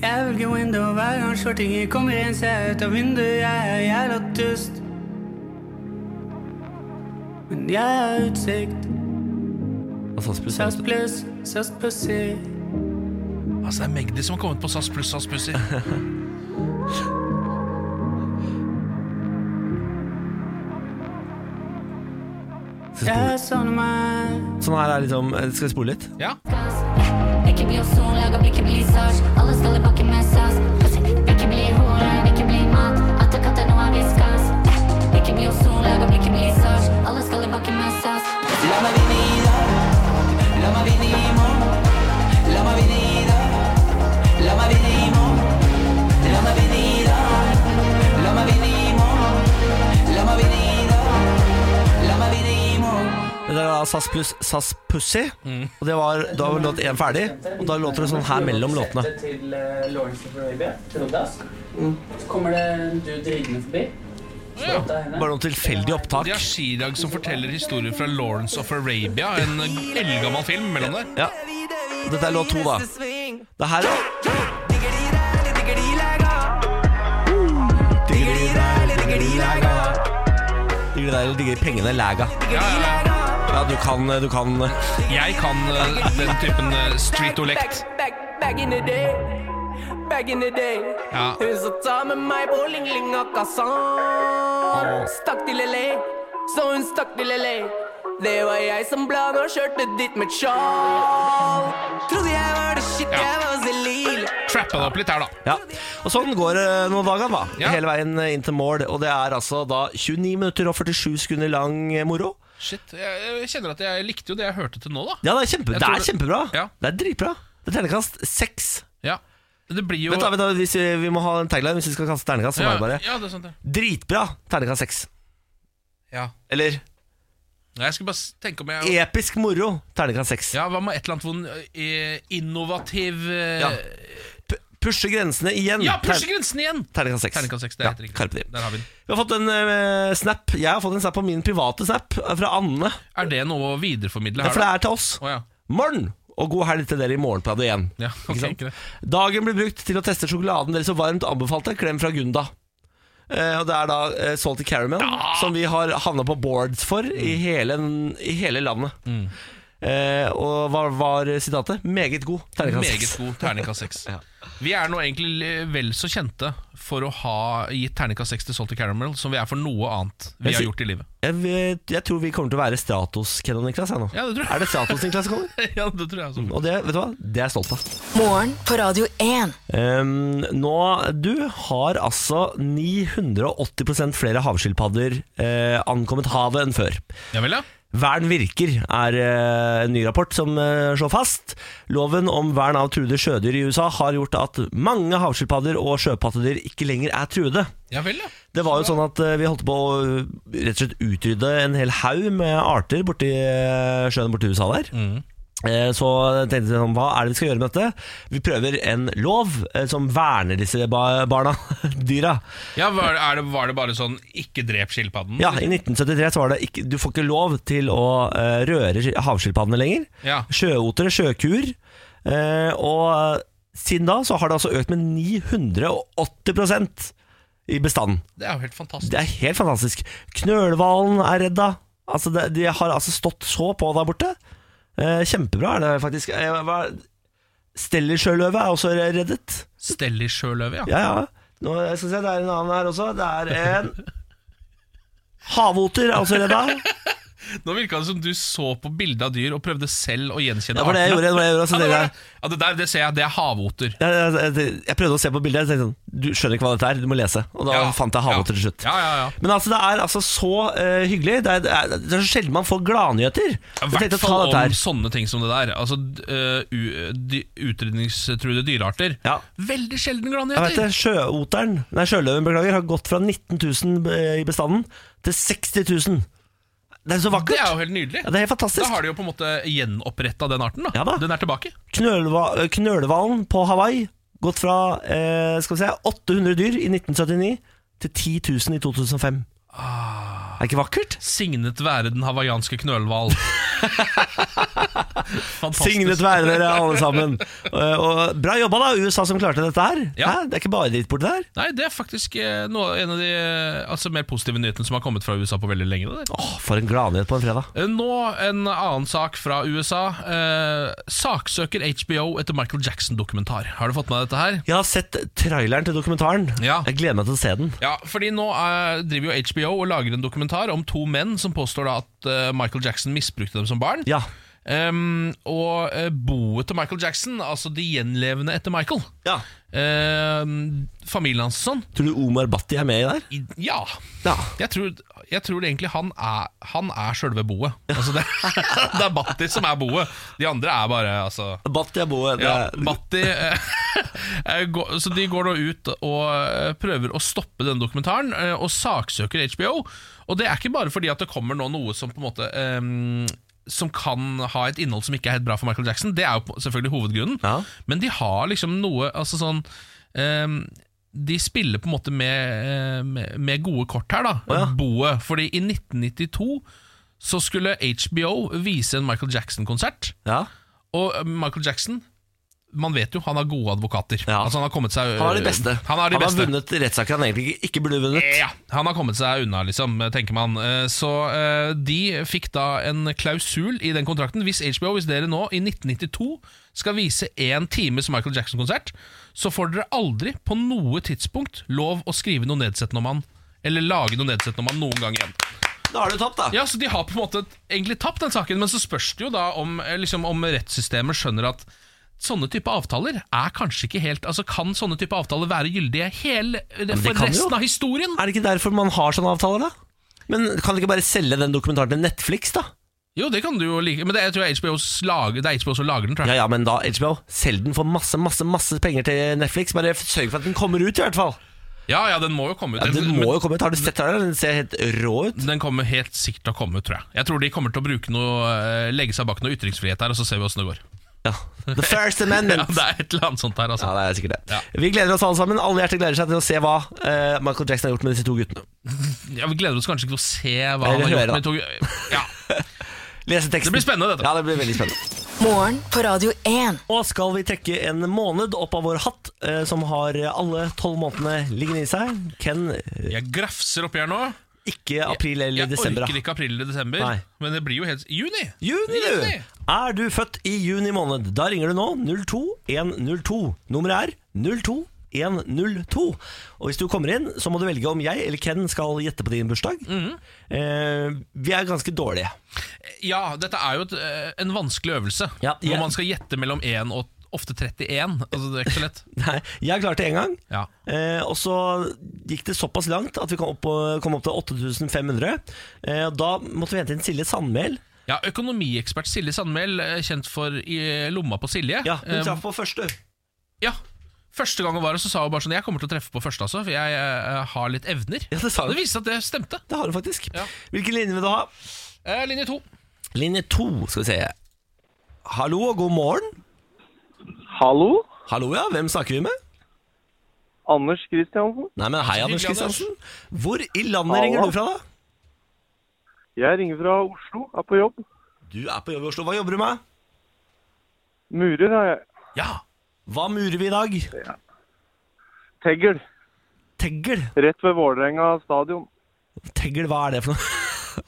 Speaker 4: Jeg velger window hver gang skjortinger kommer inn, ser jeg ut av vinduet, jeg er jævla dust. Men jeg har utsikt,
Speaker 1: Av SAS Plus.
Speaker 4: SAS pluss, SAS pussy.
Speaker 2: Altså, det er Magdi som har kommet på SAS pluss SAS Pussy.
Speaker 1: Skal vi spole-
Speaker 4: Jeg savner meg,
Speaker 1: Sånn her er liksom eh, Skal vi spole litt?
Speaker 2: Ja.
Speaker 5: Ikke bli ozon, lager blikket bli sars Alle skal i bakken med sas Pussy, Ikke bli hore, ikke bli mat Atter katter nå er viskas Ikke bli ozon, lager blikket bli sars Alle skal i bakken med sas
Speaker 1: Det der er SAS pluss SAS Pussy.
Speaker 2: Mm.
Speaker 1: Og det var, da var låt én ferdig. Og da låter det sånn her mellom låtene. Mm.
Speaker 6: Til eh, Lawrence of Arabia, til Douglas. Så kommer det en dude ridende forbi.
Speaker 2: Ja.
Speaker 6: Det er henne.
Speaker 1: Bare noen tilfeldige opptak.
Speaker 2: De har Chirag som forteller historier fra Lawrence of Arabia, en eldgammel film mellom der.
Speaker 1: Ja. Og Dette er låt to, da. Det her er
Speaker 7: uh,
Speaker 1: Digger de deg, digger de læga. Digger de deg, eller digger de pengene læga.
Speaker 2: Ja, ja, ja.
Speaker 1: Ja, du kan, eh, du kan
Speaker 2: Jeg kan eh, den typen eh, street-olekt.
Speaker 7: Back, back in the day. Back in the day.
Speaker 2: Ja.
Speaker 7: Hun som tar med meg på Ling-Ling og Kazan. Stakk til LA, så hun stakk til LA. Det var jeg som blanda og kjørte dit med sjal. Trodde jeg var det shit,
Speaker 2: Ja.
Speaker 7: jeg var zelil.
Speaker 2: Trappa det opp litt her, da.
Speaker 1: Ja. Og sånn går det noen dager, da.
Speaker 2: Ja.
Speaker 1: Hele veien inn til mål. Og det er altså da 29 minutter og 47 sekunder lang moro.
Speaker 2: Shit, jeg, jeg kjenner at jeg likte jo det jeg hørte til nå, da.
Speaker 1: Ja, det er, kjempe,
Speaker 2: Jeg
Speaker 1: det
Speaker 2: tror
Speaker 1: er
Speaker 2: det-
Speaker 1: kjempebra.
Speaker 2: Ja.
Speaker 1: Det er dritbra. Det er ternekast seks.
Speaker 2: Ja. Det blir jo
Speaker 1: Vent da, vent da, hvis vi, vi må ha en tagline hvis vi skal kaste ternekast. Så må
Speaker 2: ja,
Speaker 1: jeg bare
Speaker 2: ja, det er sant, det.
Speaker 1: Dritbra ternekast seks.
Speaker 2: Ja.
Speaker 1: Eller
Speaker 2: Nei, Jeg skulle bare s- tenke om jeg
Speaker 1: episk moro ternekast seks.
Speaker 2: Ja, hva med et eller annet vond, eh, innovativ eh,
Speaker 1: Ja. P- Pushe grensene igjen.
Speaker 2: Ja, pushe
Speaker 1: Tern-
Speaker 2: grensen igjen!
Speaker 1: Ternekast seks.
Speaker 2: Terningkast seks, det er helt riktig.
Speaker 1: Carpe Diem.
Speaker 2: Der har vi den.
Speaker 1: Vi har fått en eh, snap. Jeg har fått en snap på min private snap eh, fra Anne.
Speaker 2: Er det noe å videreformidle
Speaker 1: Ja,
Speaker 2: her,
Speaker 1: for det
Speaker 2: da?
Speaker 1: er til oss.
Speaker 2: Å, ja.
Speaker 1: Morgen! Og god helg til dere i Morgenbladet igjen.
Speaker 2: Ja, ok,
Speaker 1: Ikke sant?
Speaker 2: greit.
Speaker 1: Dagen blir brukt til å teste sjokoladen dere så varmt anbefalte. Klem fra Gunda. Eh, og Det er da eh, Salty Caramel, som vi har havna på boards for i,
Speaker 2: Mm.
Speaker 1: hele, i hele landet. Eh, og hva var sitatet? Meget god. Terningkast
Speaker 2: Meget
Speaker 1: seks.
Speaker 2: god terningkast seks. Vi er nå egentlig eh, vel så kjente for å ha gitt terningkast seks til Salty Caramel som vi er for noe annet vi
Speaker 1: Jeg
Speaker 2: har
Speaker 1: sy-
Speaker 2: gjort i livet.
Speaker 1: Jeg, vet- jeg tror vi kommer til å være Stratos, Kennon Niklas. Jeg, nå.
Speaker 2: Ja, det tror jeg.
Speaker 1: Er det Stratos Niklas som kommer?
Speaker 2: ja, det tror jeg også.
Speaker 1: Og det, vet du hva? det er jeg stolt av.
Speaker 3: Morgen på Radio 1.
Speaker 1: Ehm, nå, du har altså 980 flere havskilpadder eh, ankommet havet enn før.
Speaker 2: Ja vel, ja.
Speaker 1: Vern virker, er eh, en ny rapport som eh, slår fast. Loven om vern av truede sjødyr i USA har gjort at mange havskilpadder og sjøpattedyr ikke lenger er truede.
Speaker 2: Ja vel, ja.
Speaker 1: Det var jo sånn at eh, vi holdt på å eh, rett og slett utrydde en hel haug med arter borti eh, sjøen borti USA der. Eh, Så tenkte vi sånn, hva er det vi skal gjøre med dette? Vi prøver en lov eh, som verner disse ba barna, dyra.
Speaker 2: ja var, er det, var det bare sånn 'ikke drep skilpadden'?
Speaker 1: Ja, I 1973 så var det ikke, du får ikke lov til å eh, røre skil- havskilpaddene lenger.
Speaker 2: Ja.
Speaker 1: Sjøotere, sjøkuer. Eh, og eh, siden da så har det altså økt med 980 i bestanden.
Speaker 2: Det er jo helt fantastisk.
Speaker 1: Det er helt fantastisk. Knølhvalen er redd da. Altså, det, de har altså stått så på der borte. Eh, kjempebra er det faktisk. Eh, hva- Stellisjøløve er også reddet.
Speaker 2: Stell i sjøløve, ja.
Speaker 1: Ja, ja. Nå jeg skal se, det er en annen her også. Det er en Havoter er også redda.
Speaker 2: Nå virka det som du så på bilde av dyr og prøvde selv å gjenkjenne
Speaker 1: Det var det jeg gjorde. Det var det jeg, gjorde så
Speaker 2: Ja, det,
Speaker 1: dere,
Speaker 2: var det. ja, det der det ser jeg, det er havoter.
Speaker 1: jeg, altså, jeg, jeg prøvde å se på bildet. Jeg tenkte sånn, Du skjønner ikke hva dette er, du må lese. Og da
Speaker 2: Ja.
Speaker 1: fant jeg havoter til slutt.
Speaker 2: Ja, ja, ja.
Speaker 1: Men altså, det er altså så eh, hyggelig. Det er, det er- det er så sjelden man får gladnyheter.
Speaker 2: I
Speaker 1: Jeg
Speaker 2: hvert
Speaker 1: tenkte å ta
Speaker 2: fall
Speaker 1: dette her.
Speaker 2: om sånne ting som det der. Altså d- øh, u- dy- Utrydningstruede dyrearter.
Speaker 1: Ja.
Speaker 2: Veldig sjelden
Speaker 1: Jeg vet det,
Speaker 2: gladnyheter!
Speaker 1: Sjøoteren, nei sjøløven beklager, har gått fra 19 000 eh, i bestanden til 60 000. Det er så vakkert.
Speaker 2: Det er jo helt nydelig.
Speaker 1: Ja, det er helt fantastisk.
Speaker 2: Da har de jo på en måte gjenoppretta den arten. da,
Speaker 1: Ja da.
Speaker 2: Den er tilbake.
Speaker 1: Knølva, eh, knølhvalen på Hawaii gått fra eh, skal vi se, 800 dyr i 1979 til 10 000 i 2005.
Speaker 2: Ah.
Speaker 1: Er ikke vakkert?
Speaker 2: Signet være den hawaiianske knølhval. Fantastisk.
Speaker 1: Signet være dere alle sammen. Eh, og bra jobba, da, USA som klarte dette her.
Speaker 2: Ja.
Speaker 1: Hæ? Det er ikke bare dritt borti der.
Speaker 2: Nei, det er faktisk eh, noe, en av de eh, altså, mer positive nyhetene som har kommet fra USA på veldig lenge. Det der.
Speaker 1: Åh, for en gladnyhet på en fredag.
Speaker 2: Eh, Nå en annen sak fra USA. Eh, saksøker HBO etter Michael Jackson-dokumentar. Har du fått med deg dette her?
Speaker 1: Jeg har sett traileren til dokumentaren.
Speaker 2: Ja.
Speaker 1: Jeg gleder meg til å se den.
Speaker 2: Ja, fordi nå eh, driver jo HBO og lager en dokumentar om to menn som påstår da at eh, Michael Jackson misbrukte dem som barn.
Speaker 1: Ja,
Speaker 2: Ehm, og eh, boet til Michael Jackson, altså de gjenlevende etter Michael.
Speaker 1: ja.
Speaker 2: Ehm, familien hans og sånn.
Speaker 1: Tror du Omar Bhatti er med i der?
Speaker 2: I, ja.
Speaker 1: Ja.
Speaker 2: Jeg tror, jeg tror egentlig han er, han er sjølve boet. Altså det, det er Batti som er boet. De andre er bare altså
Speaker 1: Bhatti er boet.
Speaker 2: ja,
Speaker 1: Det-
Speaker 2: Batti eh, går- Så de går da ut og eh, prøver å stoppe denne dokumentaren, eh, og saksøker HBO. Og det er ikke bare fordi at det kommer nå noe som på en måte eh, som kan ha et innhold som ikke er helt bra for Michael Jackson. Det er jo på- selvfølgelig hovedgrunnen,
Speaker 1: Ja.
Speaker 2: men de har liksom noe Altså sånn eh, de spiller på en måte med, eh, med, med gode kort her, da.
Speaker 1: Å ja.
Speaker 2: Boet. Fordi i 1992 så skulle HBO vise en Michael Jackson-konsert.
Speaker 1: ja.
Speaker 2: Og eh, Michael Jackson Man vet jo, han har gode advokater.
Speaker 1: Ja.
Speaker 2: Altså Han har kommet seg
Speaker 1: Han er de beste.
Speaker 2: Han er de beste.
Speaker 1: vunnet rettssaker han egentlig ikke- ikke burde vunnet.
Speaker 2: Ja, han har kommet seg unna, liksom, tenker man. Eh, Så eh, de fikk da en klausul i den kontrakten. Hvis HBO, hvis dere nå i 1992 skal vise én times Michael Jackson-konsert, så får dere aldri på noe tidspunkt lov å skrive noe nedsettende om han. Eller lage noe nedsettende om han noen gang igjen.
Speaker 1: Da har du tapt, da.
Speaker 2: Ja, så De har på en måte egentlig tapt den saken, men så spørs det jo da om, eh, liksom, om rettssystemet skjønner at sånne type avtaler er kanskje ikke helt Altså Kan sånne type avtaler være gyldige hele, eh, for
Speaker 1: kan
Speaker 2: resten
Speaker 1: jo.
Speaker 2: av historien?
Speaker 1: Er det ikke derfor man har sånne avtaler, da? Men kan de ikke bare selge den dokumentaren til Netflix, da?
Speaker 2: Jo, det kan du jo like, men det er, jeg tror jeg HBO lager, det er HBO som lager den. tror jeg
Speaker 1: Ja ja, men da, HBO, selg den for masse, masse masse penger til Netflix. Bare sørg for at den kommer ut, i hvert fall.
Speaker 2: Ja, ja, den må jo komme ut.
Speaker 1: Ja, den
Speaker 2: Men
Speaker 1: må jo komme ut. Har du sett den? Den ser helt rå ut.
Speaker 2: den kommer helt sikkert til å komme ut, tror jeg. Jeg tror de kommer til å bruke noe, eh, legge seg bak noe ytringsfrihet her, og så ser vi åssen det går.
Speaker 1: Ja. The First Amendment.
Speaker 2: Ja, det er et eller annet sånt her, altså.
Speaker 1: Ja, det er sikkert det.
Speaker 2: Ja.
Speaker 1: Vi gleder oss alle sammen. Alle hjerter gleder seg til å se hva eh, Michael Jackson har gjort med disse to guttene.
Speaker 2: Ja, vi gleder oss kanskje ikke til å se hva
Speaker 1: Eller
Speaker 2: han har
Speaker 1: høre,
Speaker 2: gjort med tog... Ja,
Speaker 1: Lese teksten.
Speaker 2: Det blir spennende, dette.
Speaker 1: Ja, det blir veldig spennende.
Speaker 3: Morgen på Radio 1.
Speaker 1: Og skal vi trekke en måned opp av vår hatt, eh, som har alle tolv månedene liggende i seg. Ken, eh,
Speaker 2: jeg grafser oppi her nå.
Speaker 1: ikke april eller
Speaker 2: jeg
Speaker 1: desember. da.
Speaker 2: orker ikke april eller desember,
Speaker 1: Nei.
Speaker 2: men det blir jo helt Juni!
Speaker 1: Juni, du! Er du født i juni måned? Da ringer du nå 02102. Nummeret er 02102. Og hvis du kommer inn, så må du velge om jeg eller Ken skal gjette på din bursdag. eh, vi er ganske dårlige.
Speaker 2: Ja, dette er jo et, eh, en vanskelig øvelse,
Speaker 1: Ja,
Speaker 2: hvor
Speaker 1: jeg-
Speaker 2: man skal gjette mellom 1 og ofte 31. Altså, det er ikke så lett.
Speaker 1: Nei, jeg klarte det én gang.
Speaker 2: Ja.
Speaker 1: Eh, og så gikk det såpass langt at vi kom opp, på- kom opp til 8500. Eh, og da måtte vi hente inn Silje Sandmæl.
Speaker 2: Ja, Økonomiekspert Silje Sandmæl, eh, kjent for i eh, lomma på Silje.
Speaker 1: Ja, hun
Speaker 2: Eh,
Speaker 1: traff på første.
Speaker 2: ja. Første gang hun var her, så sa hun bare sånn Jeg kommer til å treffe på første, altså, for jeg eh, har litt evner.
Speaker 1: Ja, det sa hun.
Speaker 2: Det viste seg at det stemte.
Speaker 1: Det har hun faktisk.
Speaker 2: Ja.
Speaker 1: Hvilken linje vil du ha?
Speaker 2: Eh, linje to.
Speaker 1: Linje to, skal vi se. Hallo og god morgen.
Speaker 8: Hallo?
Speaker 1: Hallo, ja. Hvem snakker vi med?
Speaker 8: Anders Kristiansen?
Speaker 1: Nei, men Hei, Anders
Speaker 2: Hyggelig, Anders.
Speaker 1: Kristiansen. Hvor i landet
Speaker 8: Hallo.
Speaker 1: ringer du fra, da?
Speaker 8: Jeg ringer fra Oslo, er på jobb.
Speaker 1: Du er på jobb i Oslo. Hva jobber du med?
Speaker 8: Murer er jeg.
Speaker 2: Ja.
Speaker 1: Hva murer vi i dag?
Speaker 8: Tegl,
Speaker 1: Tegl.
Speaker 8: rett ved Vålerenga altså. stadion.
Speaker 1: Tegl, hva er det for noe?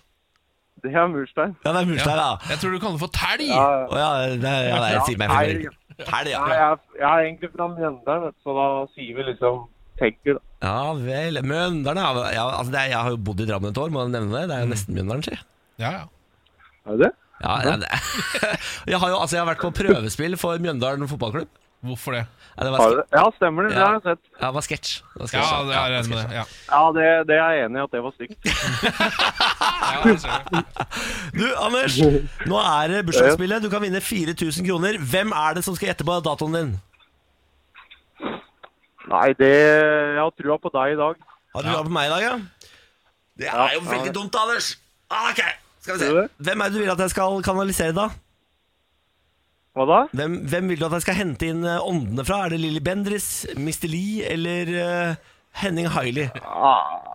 Speaker 8: Det er murstein.
Speaker 1: Ja, det er
Speaker 2: ja.
Speaker 1: murstein, ja.
Speaker 2: Jeg tror du kaller det for telg.
Speaker 8: Ja,
Speaker 1: Å ja, det er, ja, det er, sier meg
Speaker 8: Nei.
Speaker 1: for mye. Helg,
Speaker 8: ja,
Speaker 1: ja.
Speaker 8: jeg, er- jeg er egentlig fra Mjøndalen, vet du, så da sier vi liksom tegl. da.
Speaker 1: Ja vel. Mjøndalen, ja. ja altså det er, jeg har jo bodd i Drammen et år, må jeg nevne det. Det er jo nesten Mjøndalen, si.
Speaker 2: Ja, ja.
Speaker 8: Er det det?
Speaker 1: Ja, ja, det. Jeg, har jo, altså, jeg har vært på prøvespill for Mjøndalen fotballklubb.
Speaker 2: Hvorfor det?
Speaker 1: Ja, det var
Speaker 8: Har du
Speaker 1: sketsj.
Speaker 8: det? Ja, stemmer det. Det har jeg sett.
Speaker 1: Ja, det var sketsj. Det var
Speaker 2: Ja,
Speaker 1: sketsj,
Speaker 2: det er jeg
Speaker 1: det var
Speaker 2: enig med
Speaker 1: sketsj.
Speaker 2: det. Ja.
Speaker 8: Ja, det, det er jeg enig i at det var stygt.
Speaker 2: Ja, det ser jeg.
Speaker 1: Du, Anders. Nå er det bursdagsspillet. Du kan vinne 4000 kroner. Hvem er det som skal gjette på datoen din?
Speaker 8: Nei, det Jeg har trua på deg i dag.
Speaker 1: Har du ja. på meg i dag, ja? Det er jo veldig dumt, Anders. Ah, ok, Skal vi se.
Speaker 8: Gjør det?
Speaker 1: Hvem er det du vil at jeg skal kanalisere, da?
Speaker 8: Hva da?
Speaker 1: Hvem, hvem vil du at jeg skal hente inn eh, åndene fra? Er det Lilly Bendriss, Mr. Lee eller eh, Henning Hailey?
Speaker 8: Ah.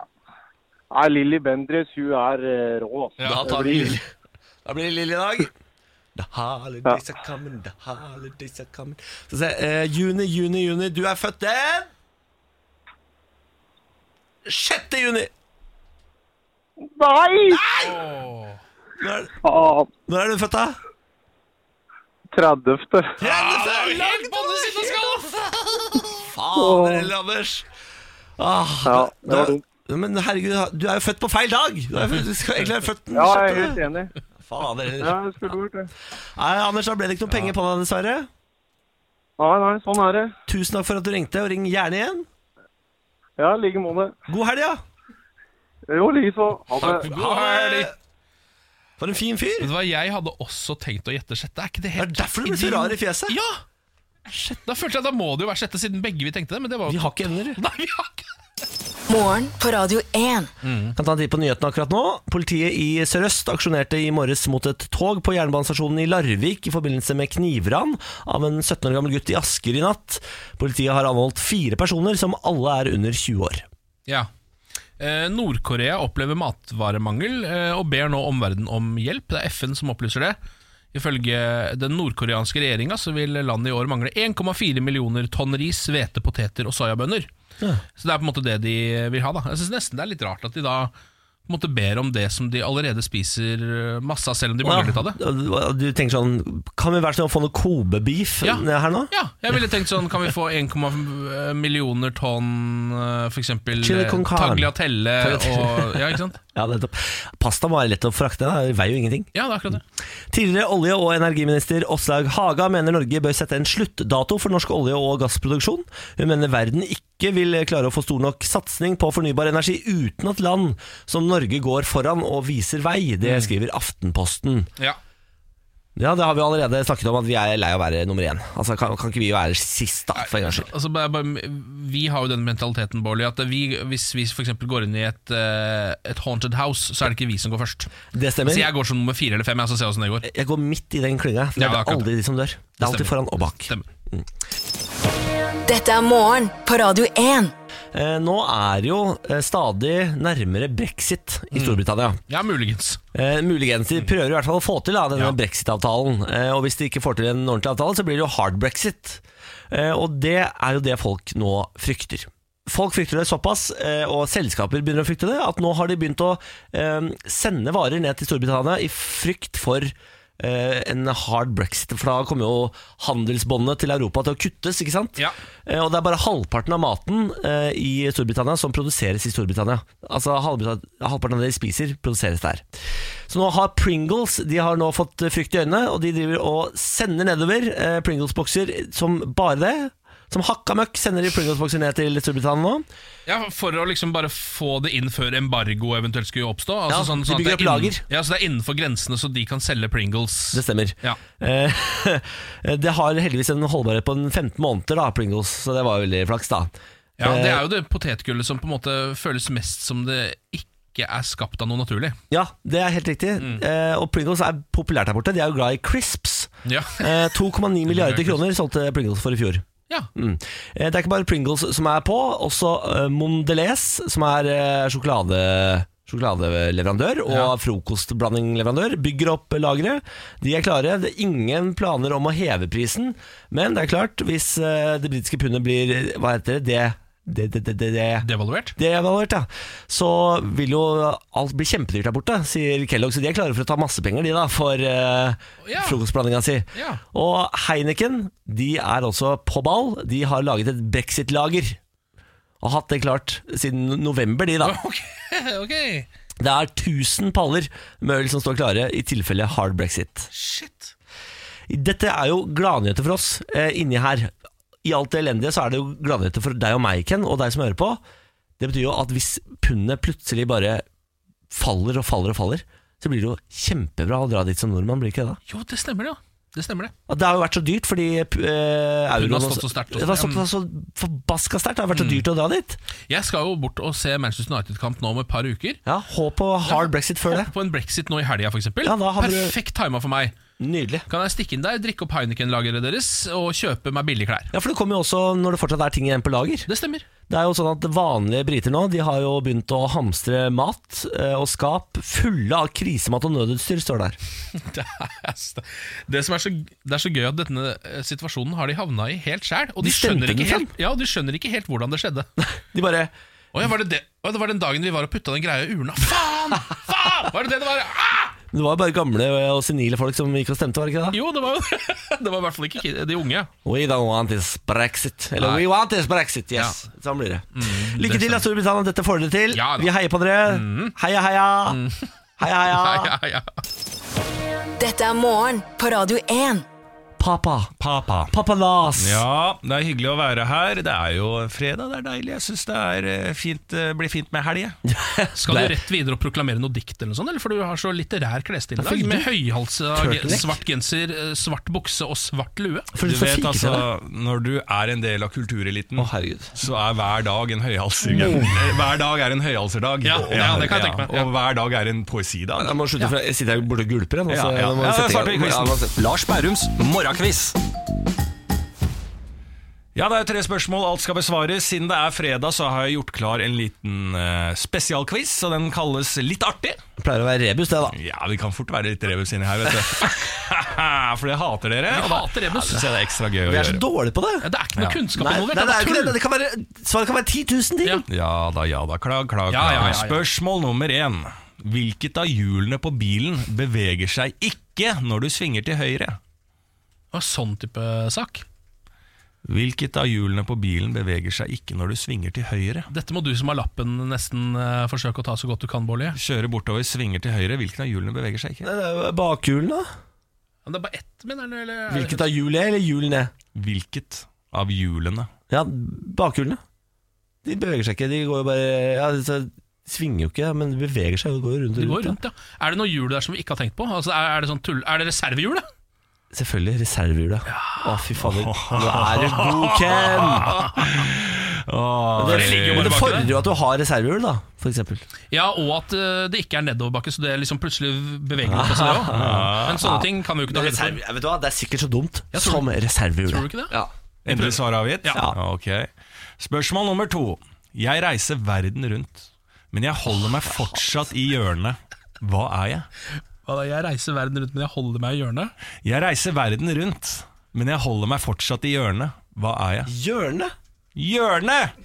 Speaker 8: Nei, Lilly Bendriss, hun er eh, rå. altså.
Speaker 1: Da tar vi Lilly. Da blir det Lilly i dag. The holidays
Speaker 8: Ja.
Speaker 1: are coming, the holidays are coming. Så se, eh, juni, juni, juni. Du er født den 6. juni!
Speaker 8: Nei!
Speaker 1: Når,
Speaker 8: Ah,
Speaker 1: når er du født, da?
Speaker 8: 30.
Speaker 1: 30.
Speaker 2: Helt Ah, på andre siden av skallen!
Speaker 1: Fader heller, Anders. Ah,
Speaker 8: Ja, det var
Speaker 1: du-
Speaker 8: dumt.
Speaker 1: Men herregud, du er jo født på feil dag! Du er født, du skal egentlig være født den
Speaker 8: Ja, jeg
Speaker 1: 6..
Speaker 8: er helt enig.
Speaker 1: Fader heller.
Speaker 8: Ja, jeg skulle gjort det.
Speaker 1: Nei, Anders, da ble det ikke noe penger på deg, dessverre.
Speaker 8: Nei, nei, sånn er det.
Speaker 1: Tusen takk for at du ringte, og ring gjerne igjen.
Speaker 8: Ja, i like måte.
Speaker 1: God helg, ja!
Speaker 8: Jo, likeså. Ha det.
Speaker 2: God helg!
Speaker 1: For en fin fyr!
Speaker 2: Vet du hva, jeg hadde også tenkt å gjette sjette. Er ikke det
Speaker 1: Det
Speaker 2: helt
Speaker 1: er derfor du blir så rar i fjeset.
Speaker 2: Ja! Da følte jeg at da må det jo være sjette, siden begge vi tenkte det. Men det var
Speaker 1: Vi
Speaker 2: jo
Speaker 1: har ikke evner.
Speaker 2: Nei, vi har ikke
Speaker 3: Morgen på Radio 1.
Speaker 1: Kan ta en titt på nyhetene akkurat nå. Politiet i Sør-Øst aksjonerte i morges mot et tog på jernbanestasjonen i Larvik i forbindelse med knivran av en 17 år gammel gutt i Asker i natt. Politiet har anholdt fire personer, som alle er under 20 år.
Speaker 2: Ja. Eh, Nord-Korea opplever matvaremangel eh, og ber nå omverdenen om hjelp. Det er FN som opplyser det. Ifølge den nordkoreanske regjeringa så vil landet i år mangle 1,4 millioner tonn ris, hvete, poteter og soyabønner. Så det er på en måte det de vil ha. da Jeg synes nesten det er litt rart at de da på en måte ber om det som de allerede spiser eh, masse av, selv om de mangler litt av det.
Speaker 1: Du tenker sånn Kan vi være så snill å få noe Kobe-beef
Speaker 2: Ja.
Speaker 1: ned her nå?
Speaker 2: Ja, jeg ville tenkt sånn Kan vi få 1, millioner tonn eh, For eksempel
Speaker 1: Chili
Speaker 2: eh,
Speaker 1: con carne.
Speaker 2: tagliatelle
Speaker 1: Tagliatelle.
Speaker 2: og, Ja, ikke sant?
Speaker 1: Ja, nettopp. Pasta må være lett å frakte, det veier jo ingenting.
Speaker 2: Ja, det er akkurat det
Speaker 1: Tidligere olje- og energiminister Åslaug Haga mener Norge bør sette en sluttdato for norsk olje- og gassproduksjon. Hun mener verden ikke vil klare å få stor nok satsing på fornybar energi uten at land som Norge går foran og viser vei.
Speaker 2: Mm.
Speaker 1: Det skriver Aftenposten.
Speaker 2: Ja,
Speaker 1: Ja, det har vi allerede snakket om, at vi er lei av å være nummer én. Altså, kan, kan ikke vi være sist, da, for en gangs skyld?
Speaker 2: altså bare, bare, Vi har jo den mentaliteten, Bårli At vi, hvis vi for eksempel går inn i et, eh, et haunted house Så er det ikke vi som går først
Speaker 1: Det
Speaker 2: Så
Speaker 1: stemmer.
Speaker 2: Altså, jeg går som nummer 4 eller 5 Jeg så ser jeg hvordan det går
Speaker 1: Jeg går midt i den klynga. for Det
Speaker 2: Ja,
Speaker 1: er
Speaker 2: akkurat.
Speaker 1: aldri de som dør. Det er alltid
Speaker 2: Stemmer.
Speaker 1: foran og bak.
Speaker 2: Stemmer.
Speaker 3: Dette er morgen på Radio 1.
Speaker 1: Eh, Nå er jo eh, stadig nærmere brexit
Speaker 2: Mm.
Speaker 1: i Storbritannia.
Speaker 2: Ja, muligens
Speaker 1: Eh, muligens. De prøver i hvert fall å få til da, denne
Speaker 2: Ja.
Speaker 1: brexit-avtalen. Eh, og hvis de ikke får til en ordentlig avtale, så blir det jo hard brexit. Eh, og det er jo det folk nå frykter. Folk frykter det såpass, eh, og selskaper begynner å frykte det, at nå har de begynt å eh, sende varer ned til Storbritannia i frykt for eh, en hard brexit. For da kommer jo handelsbåndet til Europa til å kuttes, ikke sant?
Speaker 2: Ja.
Speaker 1: Eh, Og det er bare halvparten av maten eh, i Storbritannia som produseres i Storbritannia. Altså halvparten halvparten av det de spiser, produseres der. Så nå har Pringles de har nå fått eh, frykt i øynene, og de driver og sender nedover eh, Pringles-bokser som bare det. Som hakka møkk sender de Pringles-bokser ned til Storbritannia nå.
Speaker 2: ja, for å liksom bare få det inn før embargo eventuelt skulle oppstå altså
Speaker 1: Ja,
Speaker 2: sånn,
Speaker 1: de
Speaker 2: sånn at
Speaker 1: bygger
Speaker 2: det er
Speaker 1: opp
Speaker 2: innen-
Speaker 1: lager.
Speaker 2: Ja, så det er innenfor grensene Så de kan selge Pringles
Speaker 1: Det stemmer.
Speaker 2: Ja.
Speaker 1: Eh, det har heldigvis en holdbarhet på en 15 måneder, da, Pringles, så det var jo veldig flaks, da.
Speaker 2: Ja,
Speaker 1: Eh,
Speaker 2: det er jo det potetgullet som på en måte føles mest som det ikke er skapt av noe naturlig.
Speaker 1: Ja, det er helt riktig.
Speaker 2: Mm.
Speaker 1: Eh, og Pringles er populært der borte. De er jo glad i crisps.
Speaker 2: Ja.
Speaker 1: Eh, 2,9 milliarder kroner solgte Pringles for i fjor.
Speaker 2: ja.
Speaker 1: Mm. Eh, Det er ikke bare Pringles som er på, også eh, Mondelez, som er eh, sjokolade sjokoladeleverandør og
Speaker 2: Ja.
Speaker 1: frokostblandingleverandør, bygger opp lageret. De er klare. Det er ingen planer om å heve prisen, men det er klart, hvis eh, det britiske pundet blir Hva heter det? Det, det, det, det, det.
Speaker 2: Devaluert?
Speaker 1: Det jeg har hørt, ja. Så vil jo alt bli kjempedyrt der borte, sier Kellogg. Så de er klare for å ta masse penger, de, da, for uh,
Speaker 2: Ja.
Speaker 1: frokostblandinga si.
Speaker 2: Ja.
Speaker 1: Og Heineken de er også på ball. De har laget et brexit-lager. Og hatt det klart siden november, de, da.
Speaker 2: Ok, ok
Speaker 1: Det er 1000 paller med øl som står klare i tilfelle hard brexit.
Speaker 2: Shit.
Speaker 1: Dette er jo gladnyheter for oss eh, inni her. I alt det elendige så er det jo gladnyheter for deg og meg, Ken, og deg som hører på. Det betyr jo at hvis pundet plutselig bare faller og faller og faller, så blir det jo kjempebra å dra dit som nordmann, blir det ikke det da?
Speaker 2: Jo, det stemmer, ja. det stemmer det.
Speaker 1: Og det har jo vært så dyrt fordi eh, euroen
Speaker 2: har stått
Speaker 1: også- Mm.
Speaker 2: så sterkt også.
Speaker 1: Det har stått så forbaska sterkt. Det har vært så dyrt å dra dit.
Speaker 2: Jeg skal jo bort og se Manchester United-kamp nå om et par uker.
Speaker 1: Ja, Håp på hard brexit før det.
Speaker 2: På en brexit nå i helga, f.eks.
Speaker 1: Ja, da har du-
Speaker 2: Perfekt tima for meg.
Speaker 1: Nydelig.
Speaker 2: Kan jeg stikke inn der, drikke opp Heineken-lageret deres og kjøpe meg billige klær.
Speaker 1: Ja, for det kommer jo også når det fortsatt er ting igjen på lager.
Speaker 2: Det stemmer.
Speaker 1: Det er jo sånn at Vanlige briter nå De har jo begynt å hamstre mat eh, og skap fulle av krisemat og nødutstyr, står der.
Speaker 2: Det er, s- det som er, så, det er så gøy at denne eh, situasjonen har de havna i helt sjæl. Og
Speaker 1: De
Speaker 2: de,
Speaker 1: stemte
Speaker 2: skjønner
Speaker 1: den
Speaker 2: ikke
Speaker 1: frem.
Speaker 2: helt, ja, og de skjønner ikke helt hvordan det skjedde.
Speaker 1: De bare
Speaker 2: Å ja, var det, det? Å, det var den dagen vi var og putta den greia i urna. Faen! Faen! Var det det det var? Ah!
Speaker 1: Det var jo bare gamle og senile folk som gikk og stemte, var det ikke det?
Speaker 2: Jo, det var jo Det var i hvert fall ikke kid- de unge.
Speaker 1: We don't want this brexit. Eller
Speaker 2: Nei.
Speaker 1: we want this brexit, yes. Sånn blir det. Lykke
Speaker 2: det
Speaker 1: til, da,
Speaker 2: stemmer.
Speaker 1: Storbritannia. Dette får dere til.
Speaker 2: Ja da.
Speaker 1: Vi heier på dere. Heia, heia. Heia,
Speaker 2: Nei,
Speaker 1: heia.
Speaker 2: ja, ja.
Speaker 3: Dette er morgen på Radio 1.
Speaker 1: Papa.
Speaker 9: Papa.
Speaker 1: Papalas.
Speaker 9: Ja, det er hyggelig å være her. Det er jo fredag, det er deilig. Jeg syns det er eh, fint, eh, blir fint med helg. jeg.
Speaker 2: Skal du rett videre og proklamere noe dikt, eller noe sånt, eller for du har så litterær klesstil i dag? Med høyhalsa,
Speaker 1: Turtleneck.
Speaker 2: svart genser, eh, svart bukse og svart lue.
Speaker 1: For du
Speaker 9: Du vet
Speaker 1: fikk
Speaker 9: altså, Mm.
Speaker 1: til det.
Speaker 9: når du er en del av kultureliten,
Speaker 1: Å, herregud.
Speaker 9: så er hver dag en høyhalser Eh, Hver dag er en høyhalserdag.
Speaker 2: Mm. Ja, ja, det kan jeg tenke meg. Ja.
Speaker 9: Og hver dag er en poesidag.
Speaker 1: Jeg må slutte, for jeg sitter her borte og gulper. Jeg, nå,
Speaker 9: Ja,
Speaker 1: så
Speaker 2: altså,
Speaker 9: ja.
Speaker 1: jeg må
Speaker 9: Ja,
Speaker 1: sette i
Speaker 9: starte
Speaker 1: gang. Ja,
Speaker 9: quizen.
Speaker 1: nå sett-
Speaker 10: Lars Bærums morgenkviss.
Speaker 9: Ja, det er jo tre spørsmål, alt skal besvares. Siden det er fredag, så har jeg gjort klar en liten eh, spesialquiz, og den kalles Litt artig.
Speaker 1: Det pleier å være rebus, det, da.
Speaker 9: Ja, vi kan fort være litt rebus inni her, vet du. For jeg hater dere.
Speaker 2: Jeg
Speaker 9: og da-
Speaker 2: hater rebus.
Speaker 9: Ja, det synes jeg det er ekstra gøy å
Speaker 1: Vi er så
Speaker 9: gjøre.
Speaker 1: dårlige på
Speaker 2: Ja,
Speaker 1: det.
Speaker 2: Det er ikke noe kunnskap
Speaker 1: Nei, nei,
Speaker 2: involvert.
Speaker 1: det er ikke det.
Speaker 2: tull.
Speaker 1: det kan være, svaret kan være 10 000 ting.
Speaker 2: Ja.
Speaker 9: Ja da, ja da. Klag, klag, klag.
Speaker 2: Ja, ja, ja, ja.
Speaker 9: Spørsmål nummer én. Hvilket av hjulene på bilen beveger seg ikke når du svinger til høyre?
Speaker 2: Og sånn type sak.
Speaker 9: Hvilket av hjulene på bilen beveger seg ikke når du svinger til høyre?
Speaker 2: Dette må du som har lappen nesten eh, forsøke å ta så godt du kan, Bårli.
Speaker 9: Kjører bortover, svinger til høyre. Hvilken av hjulene beveger seg ikke?
Speaker 1: Det er Bakhjulene, da?
Speaker 2: Men Det er bare ett, mener du? Eller?
Speaker 1: Hvilket av hjul er, eller hjul ned?
Speaker 9: Hvilket av hjulene?
Speaker 1: Ja, bakhjulene. De beveger seg ikke, de går jo bare ja, de Svinger jo ikke, men de beveger seg. De går jo rundt og
Speaker 2: Det
Speaker 1: rundt.
Speaker 2: går
Speaker 1: da.
Speaker 2: rundt, ja. Er det noe hjul der som vi ikke har tenkt på? Altså, er, er det sånn tull... Er det reservehjul, da?
Speaker 1: Selvfølgelig reservehjulet. Å, fy fader. Nå er du god, Ken!
Speaker 9: Åh,
Speaker 1: Det,
Speaker 2: det ligger jo
Speaker 1: men
Speaker 2: bare
Speaker 1: det
Speaker 2: bak
Speaker 1: fordrer
Speaker 2: der.
Speaker 1: jo at du har reservehjul, da, for eksempel.
Speaker 2: Ja, og at eh, det ikke er nedoverbakke, så det er liksom plutselig beveger det på seg òg. Men sånne ting kan vi jo ikke ta høyde for.
Speaker 1: vet du hva, Det er sikkert så dumt
Speaker 2: Jeg tror-
Speaker 1: som reservehjulet.
Speaker 2: Tror du ikke det?
Speaker 1: Ja.
Speaker 9: Endelig svar avgitt?
Speaker 1: Ja.
Speaker 9: Ok. Spørsmål nummer to. Jeg reiser verden rundt, men jeg holder meg fortsatt i hjørnet. Hva er jeg?
Speaker 2: Hva da, Jeg reiser verden rundt, men jeg holder meg i hjørnet.
Speaker 9: Jeg reiser verden rundt, men jeg holder meg fortsatt i hjørnet. Hva er jeg?
Speaker 1: Hjørnet?
Speaker 9: Hjørnet!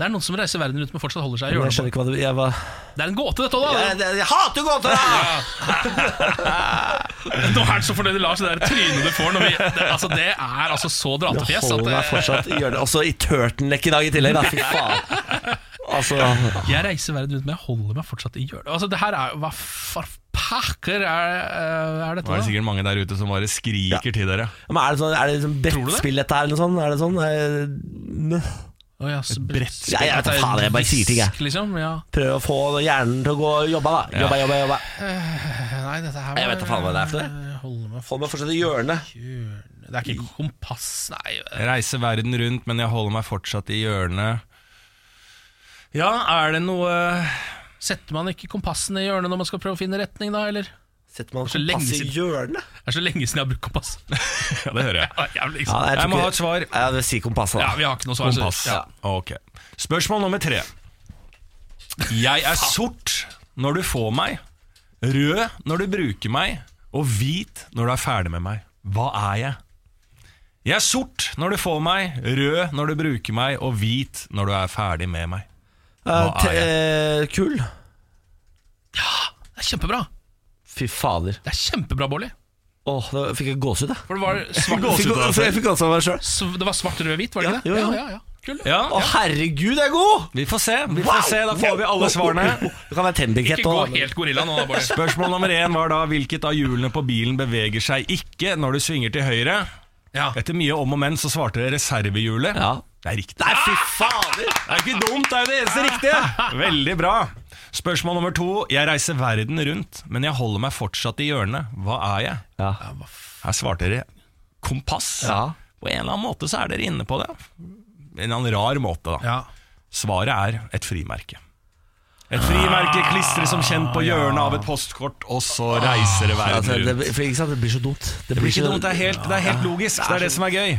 Speaker 2: Det er noen som reiser verden rundt, men fortsatt holder seg i
Speaker 1: Men Jeg
Speaker 2: hjørnet.
Speaker 1: skjønner ikke hva det jeg var...
Speaker 2: Det er en gåte, dette òg,
Speaker 1: jeg,
Speaker 2: da!
Speaker 1: jeg, jeg hater gåter! da!
Speaker 2: Nå er han så fornøyd i Lars, det der trynet du får når vi det, Altså, det er altså så
Speaker 1: Jeg
Speaker 2: dratefjes at eh,
Speaker 1: holder meg
Speaker 2: det-
Speaker 1: fortsatt i hjørnet. Også i turtleneck i dag i tillegg, da. Fy faen. Altså,
Speaker 2: Jeg reiser verden rundt, men jeg holder meg fortsatt i hjørnet. Altså, det her er Hva for pakker er, eh, er dette?
Speaker 9: Nå er
Speaker 2: da?
Speaker 9: det sikkert mange der ute som bare skriker til dere.
Speaker 1: Ja, Men er det sånn, er det sånn
Speaker 2: du det?
Speaker 1: brettspill dette her, eller noe sånt? Er det sånn? Er det,
Speaker 2: Å, ja, så-
Speaker 9: brettspill.
Speaker 1: Ja, jeg vet da faen, jeg bare sier ting, jeg.
Speaker 2: Disk, Liksom, ja.
Speaker 1: prøv å få hjernen til å gå jobba, da. Jobba, jobba, jobba.
Speaker 2: Nei, dette her
Speaker 1: Jeg vet da faen hva det er for det.
Speaker 2: Jeg holder meg for
Speaker 1: Få meg fortsatt i hjørnet.
Speaker 2: hjørnet. Det er ikke kompass, nei.
Speaker 9: Jeg reiser verden rundt, men jeg holder meg fortsatt i hjørnet. Ja, er det noe
Speaker 2: Setter man ikke kompassene i hjørnet når man skal prøve å finne retning, da, eller?
Speaker 1: Setter man
Speaker 2: Så lenge
Speaker 1: kompass i
Speaker 2: siden.
Speaker 1: hjørnet?
Speaker 2: Det er så lenge siden jeg har brukt kompass.
Speaker 9: Ja, det hører jeg.
Speaker 2: Ja, jævlig,
Speaker 1: Ja,
Speaker 2: liksom.
Speaker 1: jeg tror
Speaker 9: Jeg må
Speaker 1: ikke-
Speaker 9: ha et svar.
Speaker 1: Ja, det- Si kompasset, da.
Speaker 2: ja, vi har ikke noe svar. så-
Speaker 9: Kompass.
Speaker 2: Ja.
Speaker 9: Ok. Spørsmål nummer tre. Jeg er sort når du får meg, rød når du bruker meg, og hvit når du er ferdig med meg. Hva er jeg? Jeg er sort når du får meg, rød når du bruker meg, og hvit når du er ferdig med meg.
Speaker 1: Eh,
Speaker 9: Hva
Speaker 1: te-
Speaker 9: er
Speaker 1: eh, Kull.
Speaker 2: Det er kjempebra.
Speaker 1: Fy fader.
Speaker 2: Det er kjempebra, Bolly.
Speaker 1: Åh, da fikk jeg gåsehud, jeg.
Speaker 2: For det var svart,
Speaker 1: Fikk-
Speaker 9: Gåsehud, altså.
Speaker 1: Jeg fikk gåsehud av meg sjøl.
Speaker 2: sv- det var svart, rød, hvit, var det
Speaker 1: Ja,
Speaker 2: ikke det?
Speaker 1: jo, jo.
Speaker 2: ja, ja, ja. Kult.
Speaker 9: Ja,
Speaker 1: Å, herregud, jeg er god!
Speaker 9: vi får se. Vi får se, Da får vi alle svarene.
Speaker 1: Det kan være tennbukett
Speaker 2: Ikke gå
Speaker 1: òg.
Speaker 2: helt gorilla nå, da, Bolly.
Speaker 9: Spørsmål nummer én var da hvilket av hjulene på bilen beveger seg ikke når du svinger til høyre.
Speaker 2: Ja.
Speaker 9: Etter mye om og men så svarte dere reservehjulet.
Speaker 1: Ja.
Speaker 9: Det er riktig.
Speaker 1: Nei, fy fader!
Speaker 9: Det er ikke dumt, det er jo det eneste riktige. Veldig bra. Spørsmål nummer to. Jeg reiser verden rundt, men jeg holder meg fortsatt i hjørnet. Hva er jeg? Her svarte dere kompass. På en eller annen måte så er dere inne på det. En eller annen rar måte, da. Svaret er et frimerke. Et frimerke klistres som kjent på hjørnet av et postkort, og så reiser Ah, det verden
Speaker 1: Altså,
Speaker 9: rundt.
Speaker 1: det, for, ikke sant? det blir så dumt. Det,
Speaker 9: blir ikke dumt, det er helt- det er helt logisk, det er det som er gøy.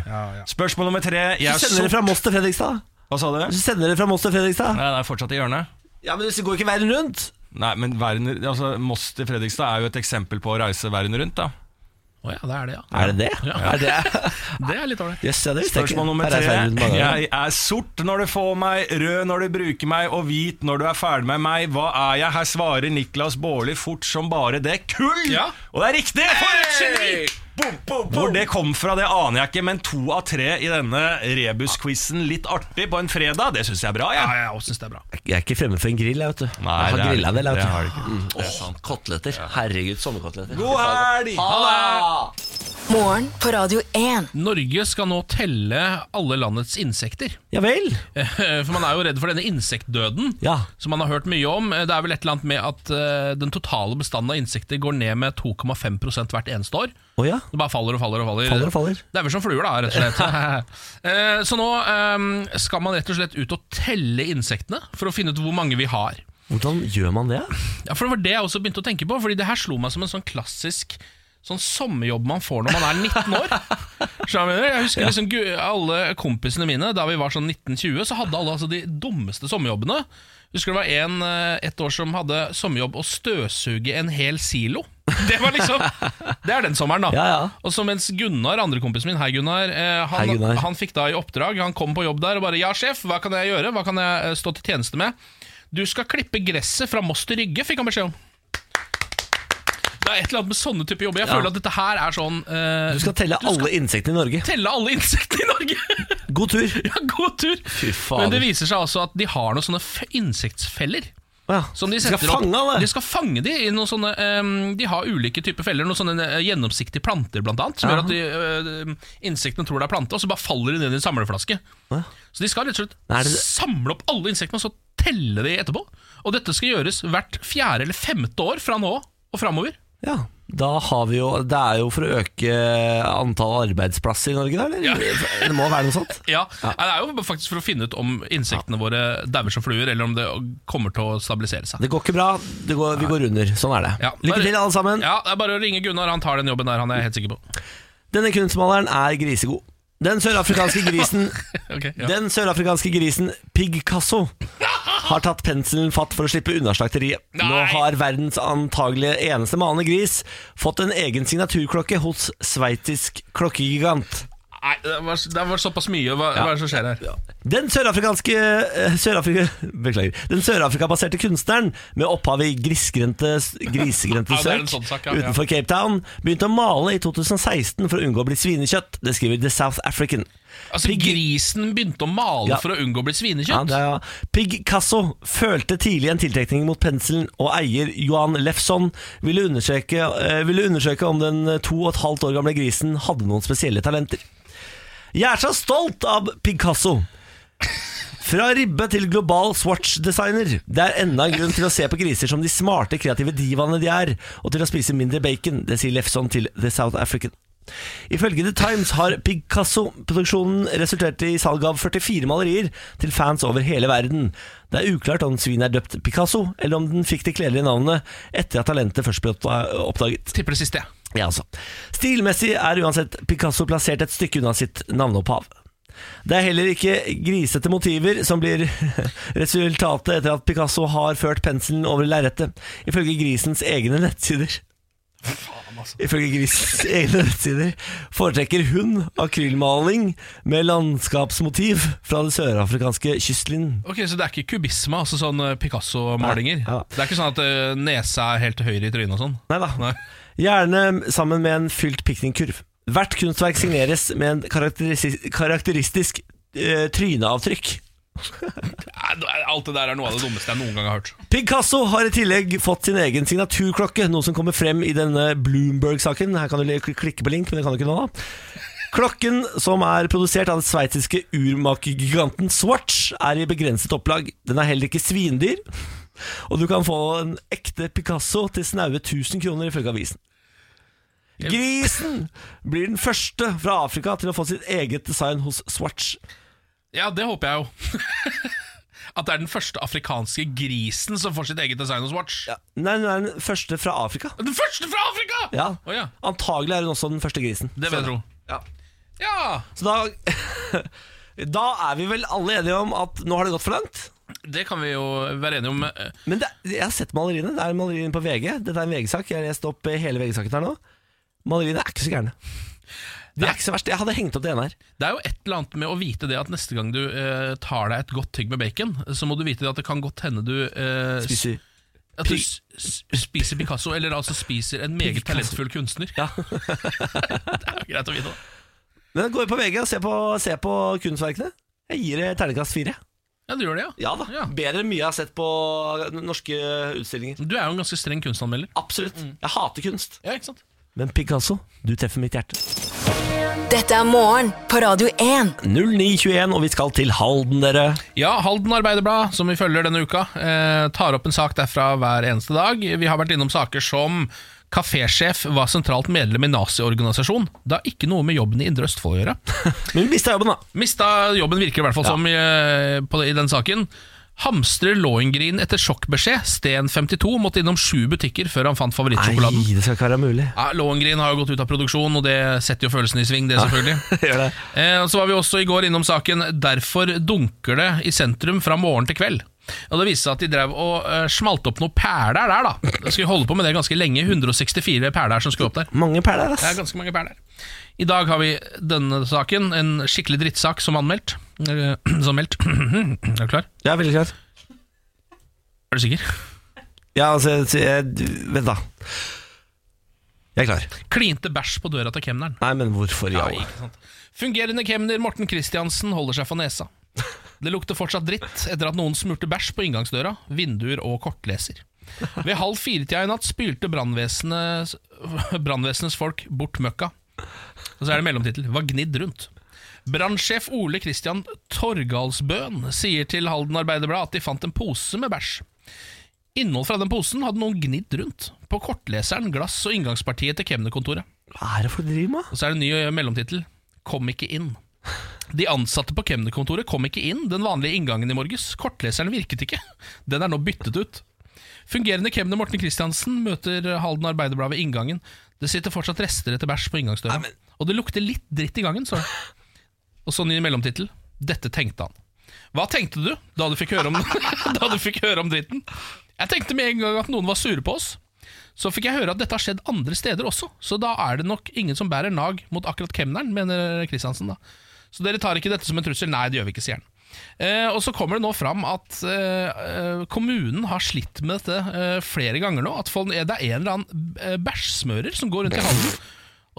Speaker 9: Spørsmål nummer tre. Jeg
Speaker 1: Jeg
Speaker 9: er
Speaker 1: sender det
Speaker 9: sort.
Speaker 1: fra Moss til Fredrikstad.
Speaker 9: Hva sa du?
Speaker 1: Du sender det fra Moss til Fredrikstad.
Speaker 9: Nei, det er fortsatt i hjørnet.
Speaker 1: Ja, men du går ikke verden rundt.
Speaker 9: Nei, men verden, altså, Moss til Fredrikstad er jo et eksempel på å reise verden rundt, da.
Speaker 2: Å ja, det er det, ja.
Speaker 1: Er det det?
Speaker 2: Ja.
Speaker 1: Er det?
Speaker 2: Det er litt ålreit.
Speaker 1: Yes, ja, det visste jeg ikke.
Speaker 9: Spørsmål nummer
Speaker 1: Her er
Speaker 9: tre.
Speaker 1: Sverre rundt mange ganger.
Speaker 9: Jeg er sort når du får meg, rød når du bruker meg, og hvit når du er ferdig med meg. Hva er jeg? Her svarer Niklas Baarli fort som bare det. Kull!
Speaker 2: Ja.
Speaker 9: Og det er riktig! For et geni! Hvor det kom fra, det aner jeg ikke, men to av tre i denne rebus-quizen litt artig på en fredag, det syns jeg er bra.
Speaker 2: Ja,
Speaker 9: Jeg.
Speaker 2: jeg også synes det er bra.
Speaker 1: Jeg er ikke fremme for en grill, jeg, vet du.
Speaker 9: Nei,
Speaker 1: jeg
Speaker 9: det
Speaker 1: har
Speaker 9: er-
Speaker 1: grilla en del, jeg,
Speaker 9: det har du
Speaker 1: vet
Speaker 9: ikke.
Speaker 1: du. Mm. Åh, Koteletter. Herregud, sommerkoteletter.
Speaker 9: God helg!
Speaker 1: Ha det!
Speaker 3: Morgen på Radio 1.
Speaker 2: Norge skal nå telle alle landets insekter.
Speaker 1: Ja vel.
Speaker 2: For man er jo redd for denne insektdøden,
Speaker 1: Ja.
Speaker 2: som man har hørt mye om. Eh, Det er vel et eller annet med at eh, den totale bestanden av insekter går ned med 2,5 hvert eneste år.
Speaker 1: Å ja.
Speaker 2: Det bare faller og faller og faller.
Speaker 1: Faller og faller.
Speaker 2: Det er vel som fluer, da, rett og slett. Eh, Så nå eh, skal man rett og slett ut og telle insektene for å finne ut hvor mange vi har.
Speaker 1: Hvordan gjør man det?
Speaker 2: Ja, for Det var det jeg også begynte å tenke på, Fordi det her slo meg som en sånn klassisk Sånn sommerjobb man får når man er 19 år. Skjønner du hva Jeg mener? Jeg husker liksom gu- alle kompisene mine da vi var sånn 19-20, så hadde alle altså de dummeste sommerjobbene. Husker det var en eh, et år som hadde sommerjobb å støvsuge en hel silo. Det var liksom Det er den sommeren, da.
Speaker 1: Ja, ja.
Speaker 2: Og så mens Gunnar, andre kompisen min, hei Gunnar, eh, han,
Speaker 1: Hei, Gunnar.
Speaker 2: han fikk da i oppdrag, han kom på jobb der og bare Ja, sjef, hva kan jeg gjøre? Hva kan jeg eh, stå til tjeneste med? Du skal klippe gresset fra Moss til Rygge, fikk han beskjed om. Det er et eller annet med sånne type jobber. Jeg
Speaker 1: Ja.
Speaker 2: føler at dette her er sånn eh,
Speaker 1: Du skal telle alle insektene i Norge.
Speaker 2: telle alle insektene i Norge!
Speaker 1: God tur.
Speaker 2: ja, god tur!
Speaker 1: Fy fader.
Speaker 2: Men det viser seg altså at de har noen sånne f insektfeller.
Speaker 1: Å ja.
Speaker 2: Som de
Speaker 1: skal
Speaker 2: setter
Speaker 1: fange
Speaker 2: opp.
Speaker 1: alle.
Speaker 2: De skal fange de i noen sånne ehm, De har ulike typer feller. Noen sånne eh, gjennomsiktige planter, blant annet. Som gjør at de, eh, insektene tror det er plante, og så bare faller de ned i en samleflaske. Så de skal rett og slett
Speaker 1: Nei, er det-
Speaker 2: samle opp alle insektene, og så telle de etterpå. Og dette skal gjøres hvert fjerde eller femte år fra nå og framover.
Speaker 1: Ja. Da har vi jo Det er jo for å øke antall arbeidsplasser i Norge, da, eller? Det må være noe sånt.
Speaker 2: Ja. Nei, Det er jo faktisk for å finne ut om insektene våre dauer som fluer, eller om det kommer til å stabilisere seg.
Speaker 1: Det går ikke bra. Det går, vi går under. Sånn er det.
Speaker 2: Ja.
Speaker 1: Lykke til, alle sammen.
Speaker 2: Ja, Det er bare å ringe Gunnar, han tar den jobben der, han er jeg helt sikker på.
Speaker 1: Denne kunstmaleren er grisegod. Den sørafrikanske grisen
Speaker 2: Ok, ja.
Speaker 1: Den sørafrikanske grisen Pigcasso har tatt penselen fatt for å slippe unna slakteriet. Nå
Speaker 2: Nei.
Speaker 1: har verdens antagelige eneste malende gris fått en egen signaturklokke hos sveitisk klokkegigant.
Speaker 2: Nei, det var, det var såpass mye. Hva, hva er det som skjer her?
Speaker 1: Den sørafrikanske eh, Sørafrika, Beklager. Den sørafrikabaserte kunstneren med opphav i grisgrendte grisegrendte
Speaker 2: Ja, det er en
Speaker 1: søk
Speaker 2: sånn sak, ja, ja.
Speaker 1: utenfor Cape Town begynte å male i 2016 for å unngå å bli svinekjøtt. Det skriver The South African.
Speaker 2: Altså, grisen begynte å male
Speaker 1: Ja.
Speaker 2: for å unngå å bli
Speaker 1: Ja,
Speaker 2: svinekjøtt?
Speaker 1: det er, ja. Pig Casso følte tidlig en tiltrekning mot penselen, og eier Johan Lefson ville undersøke, eh, ville undersøke om den to og et halvt år gamle grisen hadde noen spesielle talenter. Jeg er så stolt av Pig Casso! Fra ribbe til global Swatch-designer. Det er enda en grunn til å se på griser som de smarte, kreative divaene de er, og til å spise mindre bacon. Det sier Lefson til The South African. Ifølge The Times har Picasso-produksjonen resultert i salg av 44 malerier til fans over hele verden. Det er uklart om svinet er døpt Picasso, eller om den fikk det kledelige navnet etter at talentet først ble oppda- oppdaget.
Speaker 2: Tipper det siste, jeg.
Speaker 1: Ja, altså. Stilmessig er uansett Picasso plassert et stykke unna sitt navneopphav. Det er heller ikke grisete motiver som blir resultatet etter at Picasso har ført penselen over lerretet, ifølge grisens egne nettsider. Ifølge grisens egne nettsider foretrekker hun akrylmaling med landskapsmotiv fra det sørafrikanske kystlinjen.
Speaker 2: Ok, Så det er ikke kubisme, altså sånn eh, Picasso-malinger?
Speaker 1: Nei, ja.
Speaker 2: Det er ikke sånn at eh, nesa er helt til høyre i trynet og sånn?
Speaker 1: Nei da.
Speaker 2: Nei.
Speaker 1: Gjerne sammen med en fylt piknikkurv. Hvert kunstverk signeres med en karakteristisk, karakteristisk eh, tryneavtrykk.
Speaker 2: Nei, det er- Alt det der er noe av det dummeste jeg noen gang har hørt.
Speaker 1: Picasso har i tillegg fått sin egen signaturklokke, noe som kommer frem i denne Bloomberg-saken. Her kan du le- klikke på link, men det kan du ikke nå, da. Klokken, som er produsert av den sveitsiske urmakergiganten Swatch, er i begrenset opplag. Den er heller ikke svindyr. Og du kan få en ekte Picasso til snaue 1000 kroner, ifølge avisen. Grisen blir den første fra Afrika til å få sitt eget design hos Swatch.
Speaker 2: Ja, det håper jeg jo. At det er den første afrikanske grisen som får sitt eget design hos Watch.
Speaker 1: Nei, hun er den første fra Afrika.
Speaker 2: Den første fra Afrika!
Speaker 1: Ja.
Speaker 2: Å ja.
Speaker 1: Antagelig er hun også den første grisen.
Speaker 2: Det vil jeg tro. Ja,
Speaker 1: Så da, da er vi vel alle enige om at nå har det gått for langt.
Speaker 2: det kan vi jo være enige om. Eh,
Speaker 1: Men det, jeg har sett maleriene. Det er maleriene på VG. Dette er en VG-sak. Jeg har lest opp eh, hele VG-saken her nå. Maleriene er ikke så gærne. De er ikke så verst. Jeg hadde hengt opp det ene her.
Speaker 2: Det er jo et eller annet med å vite det at neste gang du eh, tar deg et godt tygg med bacon, så må du vite det at det kan godt hende du eh, s-
Speaker 1: Spiser
Speaker 2: At du
Speaker 1: pi-
Speaker 2: s- s- spiser Picasso, eller altså spiser en meget
Speaker 1: Picasso.
Speaker 2: talentfull kunstner.
Speaker 1: Ja.
Speaker 2: Det er jo greit å vite. da.
Speaker 1: Men gå inn på VG og se på, se på kunstverkene. Jeg gir det terningkast fire.
Speaker 2: Ja, du gjør det, ja.
Speaker 1: Ja da.
Speaker 2: Ja.
Speaker 1: Bedre enn mye jeg har sett på norske utstillinger.
Speaker 2: Du er jo en ganske streng kunstanmelder.
Speaker 1: Absolutt. Jeg hater kunst.
Speaker 2: Ja, ikke sant?
Speaker 1: Mm. Men Picasso, du treffer mitt hjerte.
Speaker 3: Dette er morgen på Radio 1.
Speaker 1: 0921, og vi skal til Halden, dere.
Speaker 2: Ja, Halden Arbeiderblad, som vi følger denne uka, eh, tar opp en sak derfra hver eneste dag. Vi har vært innom saker som kafésjef var sentralt medlem i naziorganisasjon. Det har ikke noe med jobben i Indre Østfold å gjøre.
Speaker 1: Men vi mista jobben, da.
Speaker 2: Mista jobben, virker det i hvert fall som, eh, på, i den saken. Hamstrer Lohengrin etter sjokkbeskjed. Sten 52 måtte innom sju butikker før han fant favorittsjokoladen.
Speaker 1: Nei, det skal ikke være mulig.
Speaker 2: Ja, Lohengrin har jo gått ut av produksjon, og det setter jo følelsen i sving, det selvfølgelig.
Speaker 1: Gjør det.
Speaker 2: Eh, Så var vi også i går innom saken 'Derfor dunker det i sentrum fra morgen til kveld'. Og Det viste seg at de drev og eh, smalt opp noen perler der, da. De skulle holde på med det ganske lenge. 164 perler som skulle opp der.
Speaker 1: Mange perler,
Speaker 2: Det er
Speaker 1: ass.
Speaker 2: ganske mange perler. I dag har vi denne saken, en skikkelig drittsak som anmeldt. Eh, Som meldt. Er du klar?
Speaker 1: Jeg er veldig klar.
Speaker 2: Er du sikker?
Speaker 1: Ja, altså, jeg- jeg, du- vent, da. Jeg er klar.
Speaker 2: Klinte bæsj på døra til kemneren.
Speaker 1: Nei, men hvorfor i
Speaker 2: Ja,
Speaker 1: all
Speaker 2: ikke sant. Fungerende kemner Morten Kristiansen holder seg for nesa. Det lukter fortsatt dritt etter at noen smurte bæsj på inngangsdøra, vinduer og kortleser. Ved halv fire-tida i natt spylte brannvesenets brannvesenets folk bort møkka. Og så er det mellomtittel. Var gnidd rundt. Brannsjef Ole Kristian Torgalsbøen sier til Halden Arbeiderblad at de fant en pose med bæsj. Innhold fra den posen hadde noen gnidd rundt. På kortleseren, glass og inngangspartiet til kemnerkontoret.
Speaker 1: Hva er det for driv med?
Speaker 2: Og så er det en ny eh, mellomtittel Kom ikke inn De ansatte på Kemner-kontoret kom ikke inn Den vanlige inngangen i morges Kortleseren virket ikke Den er nå byttet ut Fungerende Kemner Morten Kristiansen Møter eh, Halden Arbeiderblad ved inngangen Det sitter fortsatt rester etter bæsj på inngangsdøra
Speaker 1: Nei, men-
Speaker 2: Og det lukter litt dritt i gangen så. Og så ny mellomtittel Dette tenkte han Hva tenkte du da du fikk høre om, da du fikk høre om dritten? Jeg tenkte med en gang at noen var sure på oss så fikk jeg høre at dette har skjedd andre steder også, så da er det nok ingen som bærer nag mot akkurat kemneren, mener Kristiansen da. Så dere tar ikke dette som en trussel? Nei, det gjør vi ikke, sier han. Eh, og så kommer det nå fram at eh, eh, kommunen har slitt med dette eh, flere ganger nå. At folk, det er en eller annen eh, bæsjsmører som går rundt i hallen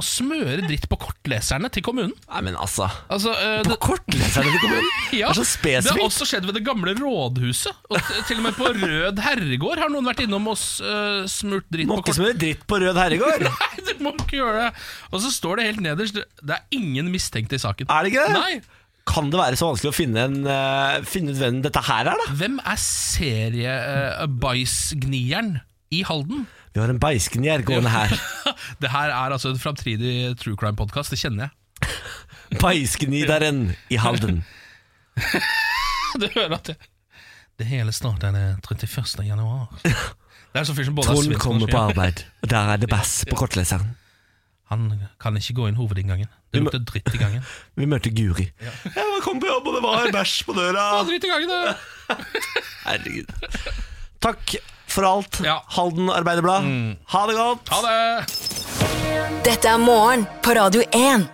Speaker 2: og smører dritt på kortleserne til kommunen.
Speaker 1: Nei, men altså.
Speaker 2: Altså, eh,
Speaker 1: På kortleserne til kommunen?
Speaker 2: ja,
Speaker 1: Det er så
Speaker 2: Det har
Speaker 1: spesifikt.
Speaker 2: også skjedd ved det gamle rådhuset. Og t- til og med på Rød herregård har noen vært innom og s- eh, smurt dritt
Speaker 1: Må
Speaker 2: på
Speaker 1: ikke
Speaker 2: kortleserne.
Speaker 1: smøre dritt på Rød herregård.
Speaker 2: Nei, du må ikke gjøre det Og så står det helt nederst Det er ingen mistenkt i saken
Speaker 1: Er det ikke det?
Speaker 2: Nei
Speaker 1: Kan det være så vanskelig å finne, en, eh, finne ut hvem dette her er, da?
Speaker 2: Hvem er seriebeisgnieren i Halden?
Speaker 1: Vi har en beiskengjær gående her.
Speaker 2: Det her er altså en framtidig true crime podcast Det kjenner jeg
Speaker 1: Beiskenideren i Halden.
Speaker 2: Du hører at det Det hele startet den 31. januar Det er en sånn fyr som både er
Speaker 1: Trond
Speaker 2: svensk og
Speaker 1: kommer på
Speaker 2: norsk.
Speaker 1: arbeid, og der er det bass på kortleseren.
Speaker 2: Han kan ikke gå inn hovedinngangen Det
Speaker 1: må-
Speaker 2: lukter dritt i gangen
Speaker 1: Vi møter Guri. Jeg kom på jobb, og det var bæsj på
Speaker 2: Ja,
Speaker 1: døra.
Speaker 2: dritt i gangen det.
Speaker 1: Herregud. Takk for alt,
Speaker 2: Ja. Mm.
Speaker 1: Halden Arbeiderblad. Ha det godt.
Speaker 2: Ha det
Speaker 3: Dette er morgen på Radio 1.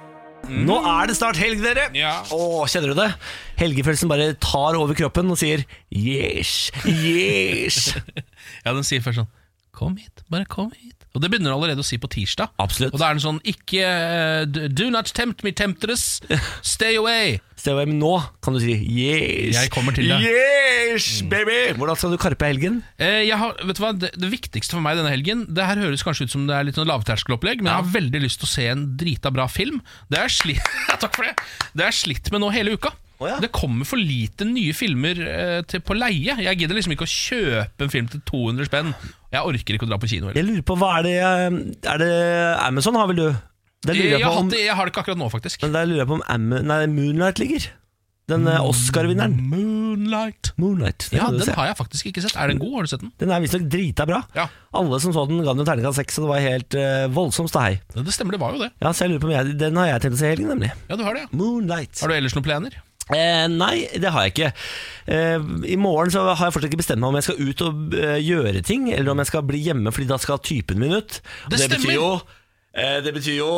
Speaker 1: Nå er det snart helg, dere.
Speaker 2: Mm. Ja.
Speaker 1: Åh, kjenner du det? Helgefølelsen bare tar over kroppen og sier yes, yes.
Speaker 2: Ja, den sier først sånn Kom hit, bare kom hit Og det begynner den allerede å si på tirsdag
Speaker 1: Absolutt.
Speaker 2: Og da er den sånn Ikke eh, d- Do not tempt me, temptress Stay away
Speaker 1: Se hva jeg mener nå kan du si yes.
Speaker 2: Jeg kommer til deg. Mm.
Speaker 1: Yes, baby! Hvordan skal du karpe helgen?
Speaker 2: eh, jeg har, Vet du hva, det, det viktigste for meg denne helgen Det her høres kanskje ut som det er litt sånn lavterskelopplegg Men jeg har veldig lyst til å se en drita bra film Det har jeg slitt Takk for det Det har jeg slitt med nå hele uka Det kommer for lite nye filmer eh, til, på leie. Jeg gidder liksom ikke å kjøpe en film til 200 spenn. Jeg orker ikke å dra på kino. heller.
Speaker 1: Jeg lurer på, hva er det eh, Er det Amazon, har vel du? Der lurer
Speaker 2: Jeg,
Speaker 1: jeg på
Speaker 2: har
Speaker 1: om,
Speaker 2: hatt det- jeg har det ikke akkurat nå, faktisk.
Speaker 1: men der lurer jeg på om Am nei, Moonlight ligger. Den eh, Oscar-vinneren.
Speaker 2: Moonlight.
Speaker 1: Moonlight
Speaker 2: Mm. Ja, Den har jeg faktisk ikke sett. Er den god? Har du sett den?
Speaker 1: Den er visstnok drita bra. Alle som så den, ga den jo terningkast seks, og det var helt eh, voldsomt ståhei.
Speaker 2: Ja, Det stemmer, det var jo det.
Speaker 1: Ja, så jeg lurer på om jeg, Den har jeg tenkt å se i helgen, nemlig.
Speaker 2: Ja, du har det, ja.
Speaker 1: Moonlight.
Speaker 2: Har du ellers noen planer?
Speaker 1: Eh, nei, det har jeg ikke. Eh, I morgen så har jeg fortsatt ikke bestemt meg om jeg skal ut og eh, gjøre ting, eller om jeg skal bli hjemme, fordi da skal typen min ut. Og
Speaker 2: Det stemmer.
Speaker 1: betyr jo eh, det betyr jo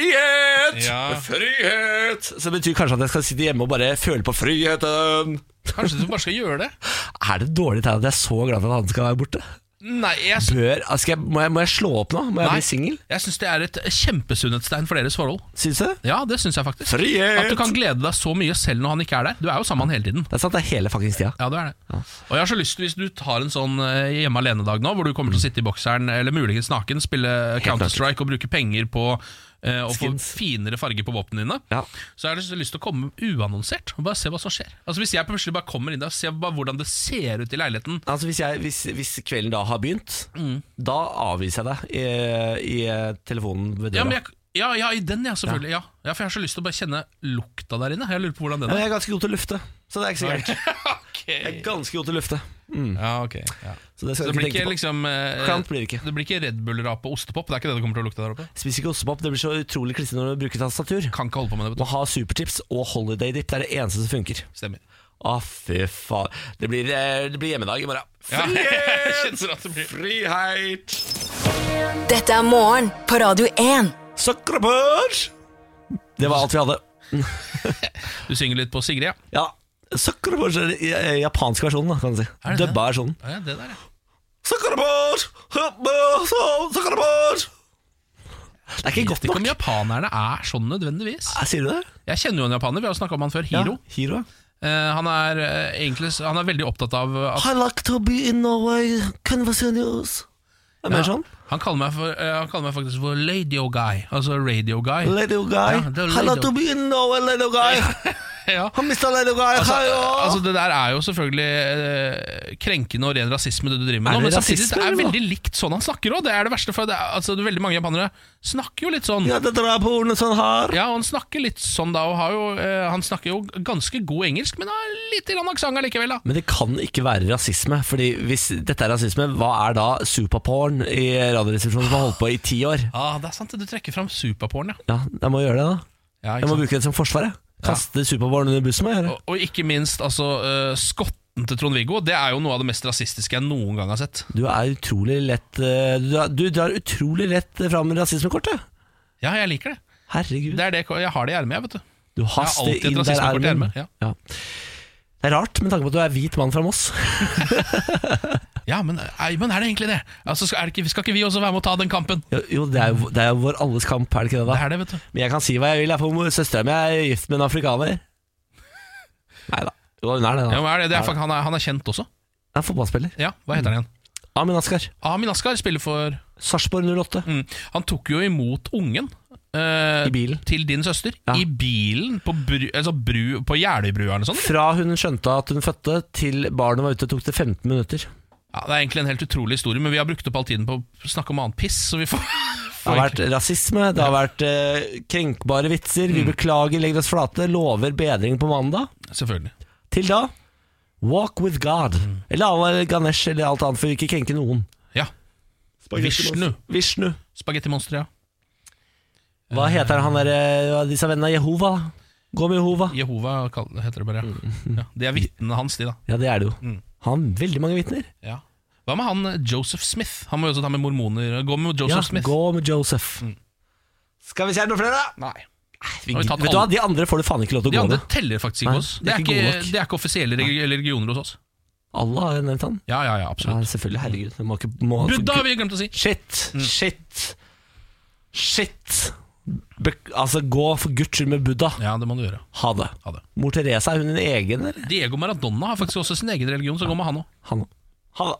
Speaker 1: frihet!
Speaker 2: Ja.
Speaker 1: Frihet! Så det betyr kanskje at jeg skal sitte hjemme og bare føle på friheten.
Speaker 2: Kanskje du bare skal gjøre det?
Speaker 1: Er det dårlig tegn at jeg er så glad for at han skal være borte?
Speaker 2: Nei, jeg,
Speaker 1: Bør, altså, skal jeg, må, jeg, må jeg slå opp nå? Må jeg
Speaker 2: Nei.
Speaker 1: bli singel?
Speaker 2: jeg syns det er et kjempesunnhetstegn for deres forhold.
Speaker 1: Syns du? det?
Speaker 2: Ja, det syns jeg faktisk.
Speaker 1: Frihet!
Speaker 2: At du kan glede deg så mye selv når han ikke er der. Du er jo sammen med han hele tiden.
Speaker 1: Det er sant, det er hele fuckings tida.
Speaker 2: Ja, det er det. Og jeg har så lyst til, hvis du tar en sånn eh, hjemme alene-dag nå, hvor du
Speaker 1: Mm.
Speaker 2: kommer til å sitte i bokseren, eller muligens naken, spille Counter-Strike og bruke penger på eh, å få
Speaker 1: Skins.
Speaker 2: finere farge på våpnene dine,
Speaker 1: Ja.
Speaker 2: så har jeg så lyst til å komme uannonsert og bare se hva som skjer. Altså Hvis jeg plutselig bare kommer inn der og ser bare hvordan det ser ut i leiligheten
Speaker 1: Altså hvis, jeg, hvis, hvis kvelden da har begynt,
Speaker 2: Mm.
Speaker 1: da avviser jeg deg i, i eh, telefonen ved døra.
Speaker 2: Ja, men jeg, ja, ja i den, ja, selvfølgelig. Ja. ja, For jeg har så lyst til å bare kjenne lukta der inne. Jeg lurer på hvordan den
Speaker 1: Ja, men
Speaker 2: er.
Speaker 1: jeg er ganske god til å lufte, så det er ikke så gærent. Jeg er
Speaker 2: Ok.
Speaker 1: ganske god til å lufte,
Speaker 2: Ja, ok ja.
Speaker 1: så det
Speaker 2: Så
Speaker 1: skal
Speaker 2: det
Speaker 1: du ikke
Speaker 2: blir ikke
Speaker 1: tenke på.
Speaker 2: liksom eh,
Speaker 1: Klant blir det ikke.
Speaker 2: Det blir ikke Red Bull-rape og ostepop. Det er ikke det det kommer til å lukte der oppe.
Speaker 1: Spiser ikke ostepop, det blir så utrolig klissete når du bruker tastatur.
Speaker 2: Kan ikke holde på med det. vet
Speaker 1: Må ha supertips og holiday dip, det er det eneste som funker.
Speaker 2: du. Stemmer.
Speaker 1: Å, fy faen. Det blir, eh, det blir hjemmedag i morgen.
Speaker 2: Ja, jeg kjenner at det blir
Speaker 1: Frihet!
Speaker 3: Dette er morgen på Radio 1.
Speaker 1: Zuckerberg! Det var alt vi hadde.
Speaker 2: Du synger litt på Sigrid, ja.
Speaker 1: Ja, Zuckerberg er den eh, japanske versjonen, da, kan du si.
Speaker 2: Er det det?
Speaker 1: Dubba versjonen.
Speaker 2: ja det der, ja.
Speaker 1: Zuckerberg! Zuckerberg! Det er ikke
Speaker 2: Jeg vet
Speaker 1: godt
Speaker 2: ikke om
Speaker 1: nok.
Speaker 2: japanerne er sånn nødvendigvis.
Speaker 1: Ja, Sier du det?
Speaker 2: Jeg kjenner jo en japaner, vi har snakka om han før. Hiro.
Speaker 1: Ja, Hiro.
Speaker 2: Eh, han, er, eh, egentlig, han er veldig opptatt av at
Speaker 1: I like to be in Norway, conversations Det er mer sånn.
Speaker 2: han, kaller meg for, eh, han kaller meg faktisk for radio guy. Altså radio guy.
Speaker 1: Little guy.
Speaker 2: Ja, det
Speaker 1: I
Speaker 2: er
Speaker 1: like
Speaker 2: little.
Speaker 1: to be in Norway, little guy.
Speaker 2: ja.
Speaker 1: Han mista little guy.
Speaker 2: Altså,
Speaker 1: Hei, å.
Speaker 2: altså Det der er jo selvfølgelig eh, krenkende og ren rasisme, det du driver med
Speaker 1: Er
Speaker 2: nå.
Speaker 1: det
Speaker 2: Men samtidig
Speaker 1: rasisme,
Speaker 2: det er
Speaker 1: eller hva?
Speaker 2: veldig likt sånn han snakker òg. Det er det verste, for det er, altså, det er veldig mange japanere snakker jo litt sånn. Ja.
Speaker 1: ja, det drar jeg på ordene sånn her.
Speaker 2: og Han snakker litt sånn da og har jo, eh, Han snakker jo ganske god engelsk, men har litt grann aksent allikevel. da
Speaker 1: Men det kan ikke være rasisme, Fordi hvis dette er rasisme, hva er da superporn i Radioresepsjonen som har holdt på i ti år?
Speaker 2: ah, Det er sant, det. du trekker fram superporn, ja.
Speaker 1: Ja, jeg må gjøre det, da.
Speaker 2: ja
Speaker 1: Jeg
Speaker 2: ikke
Speaker 1: må
Speaker 2: sant?
Speaker 1: bruke det som forsvar. jeg. Kaste superporn under bussen. må jeg gjøre
Speaker 2: Og, og ikke minst altså eh, skotten til Trond-Viggo. Det er jo noe av det mest rasistiske jeg noen gang har sett.
Speaker 1: Du er utrolig lett eh, Du, drar- du drar utrolig lett fram rasismekortet.
Speaker 2: Ja, jeg liker det.
Speaker 1: Herregud.
Speaker 2: det, er det jeg har det i ermet, jeg, vet du.
Speaker 1: Du
Speaker 2: Jeg har
Speaker 1: haster
Speaker 2: alltid et
Speaker 1: inn der
Speaker 2: rasismekort i
Speaker 1: ermen.
Speaker 2: ermet, ja.
Speaker 1: Ja. Det er rart, med tanke på at du er hvit mann fra Moss.
Speaker 2: Ja, men, nei, men er det egentlig det? Altså, skal, er det ikke, skal ikke vi også være med å ta den kampen?
Speaker 1: Jo, jo det, er jo, det er jo vår alles kamp, er det ikke det?
Speaker 2: Det
Speaker 1: da?
Speaker 2: er det, vet du.
Speaker 1: Men jeg kan si hva jeg vil. Jeg får Søstera mi er gift med en afrikaner. Nei da. Jo, hun er det,
Speaker 2: Ja,
Speaker 1: da.
Speaker 2: men er det, det er, faktisk- han, er, han er kjent også.
Speaker 1: Hun er fotballspiller.
Speaker 2: Ja, Hva heter han igjen?
Speaker 1: Amin Askar.
Speaker 2: Amin Askar spiller for
Speaker 1: Sarpsborg 08.
Speaker 2: mm, Han tok jo imot ungen. eh,
Speaker 1: I bilen.
Speaker 2: Til din søster.
Speaker 1: Ja.
Speaker 2: I bilen på, bru, altså bru, på Jeløybrua eller sånn. noe sånt.
Speaker 1: Fra hun skjønte at hun fødte, til barnet var ute, tok det 15 minutter.
Speaker 2: Ja, det er egentlig en helt utrolig historie, men vi har brukt opp all tiden på å snakke om annen piss. Så vi får,
Speaker 1: Det har vært rasisme, det har vært eh, krenkbare vitser.
Speaker 2: Mm.
Speaker 1: Vi beklager, legger oss flate, lover bedring på mandag.
Speaker 2: Selvfølgelig.
Speaker 1: Til da, walk with God.
Speaker 2: Mm.
Speaker 1: Eller Allah Ganesh eller alt annet, for vi ikke krenker noen.
Speaker 2: Ja. Vishnu.
Speaker 1: Vishnu.
Speaker 2: Spagettimonster, ja.
Speaker 1: Hva heter han der, eh, disse vennene? Jehova? Gå med Jehova.
Speaker 2: Jehova kall- heter det bare, ja.
Speaker 1: Mm.
Speaker 2: ja. Det er vitnene hans, de, da.
Speaker 1: Ja, det er det jo.
Speaker 2: Mm.
Speaker 1: Han har veldig mange vitner.
Speaker 2: Ja. Hva med han eh, Joseph Smith? Han må jo også ta med mormoner. Gå med Joseph
Speaker 1: Ja,
Speaker 2: Smith.
Speaker 1: gå med Joseph. Skal vi se noen flere, da?
Speaker 2: Nei.
Speaker 1: Vi,
Speaker 2: Har vi
Speaker 1: vet
Speaker 2: tatt
Speaker 1: du hva,
Speaker 2: alle?
Speaker 1: De andre får du faen ikke lov til
Speaker 2: De
Speaker 1: å gå
Speaker 2: andre
Speaker 1: med.
Speaker 2: teller faktisk
Speaker 1: Nei,
Speaker 2: ikke oss. Det er
Speaker 1: de er
Speaker 2: ikke,
Speaker 1: ikke gode nok.
Speaker 2: det er ikke offisielle relig- religioner hos oss.
Speaker 1: Allah har jo nevnt han.
Speaker 2: Ja, ja, ja,
Speaker 1: Ja,
Speaker 2: absolutt.
Speaker 1: selvfølgelig. Herregud. det Må ikke, må,
Speaker 2: Buddha har vi glemt å si. Mm.
Speaker 1: Shit, shit, shit. Be altså, gå for guds skyld med Buddha.
Speaker 2: Ja, det må du gjøre.
Speaker 1: Ha det.
Speaker 2: Ha det.
Speaker 1: Mor Teresa, er hun en egen, eller?
Speaker 2: Diego Maradona har faktisk også sin egen religion, så gå med han òg.
Speaker 1: Han. Ha det.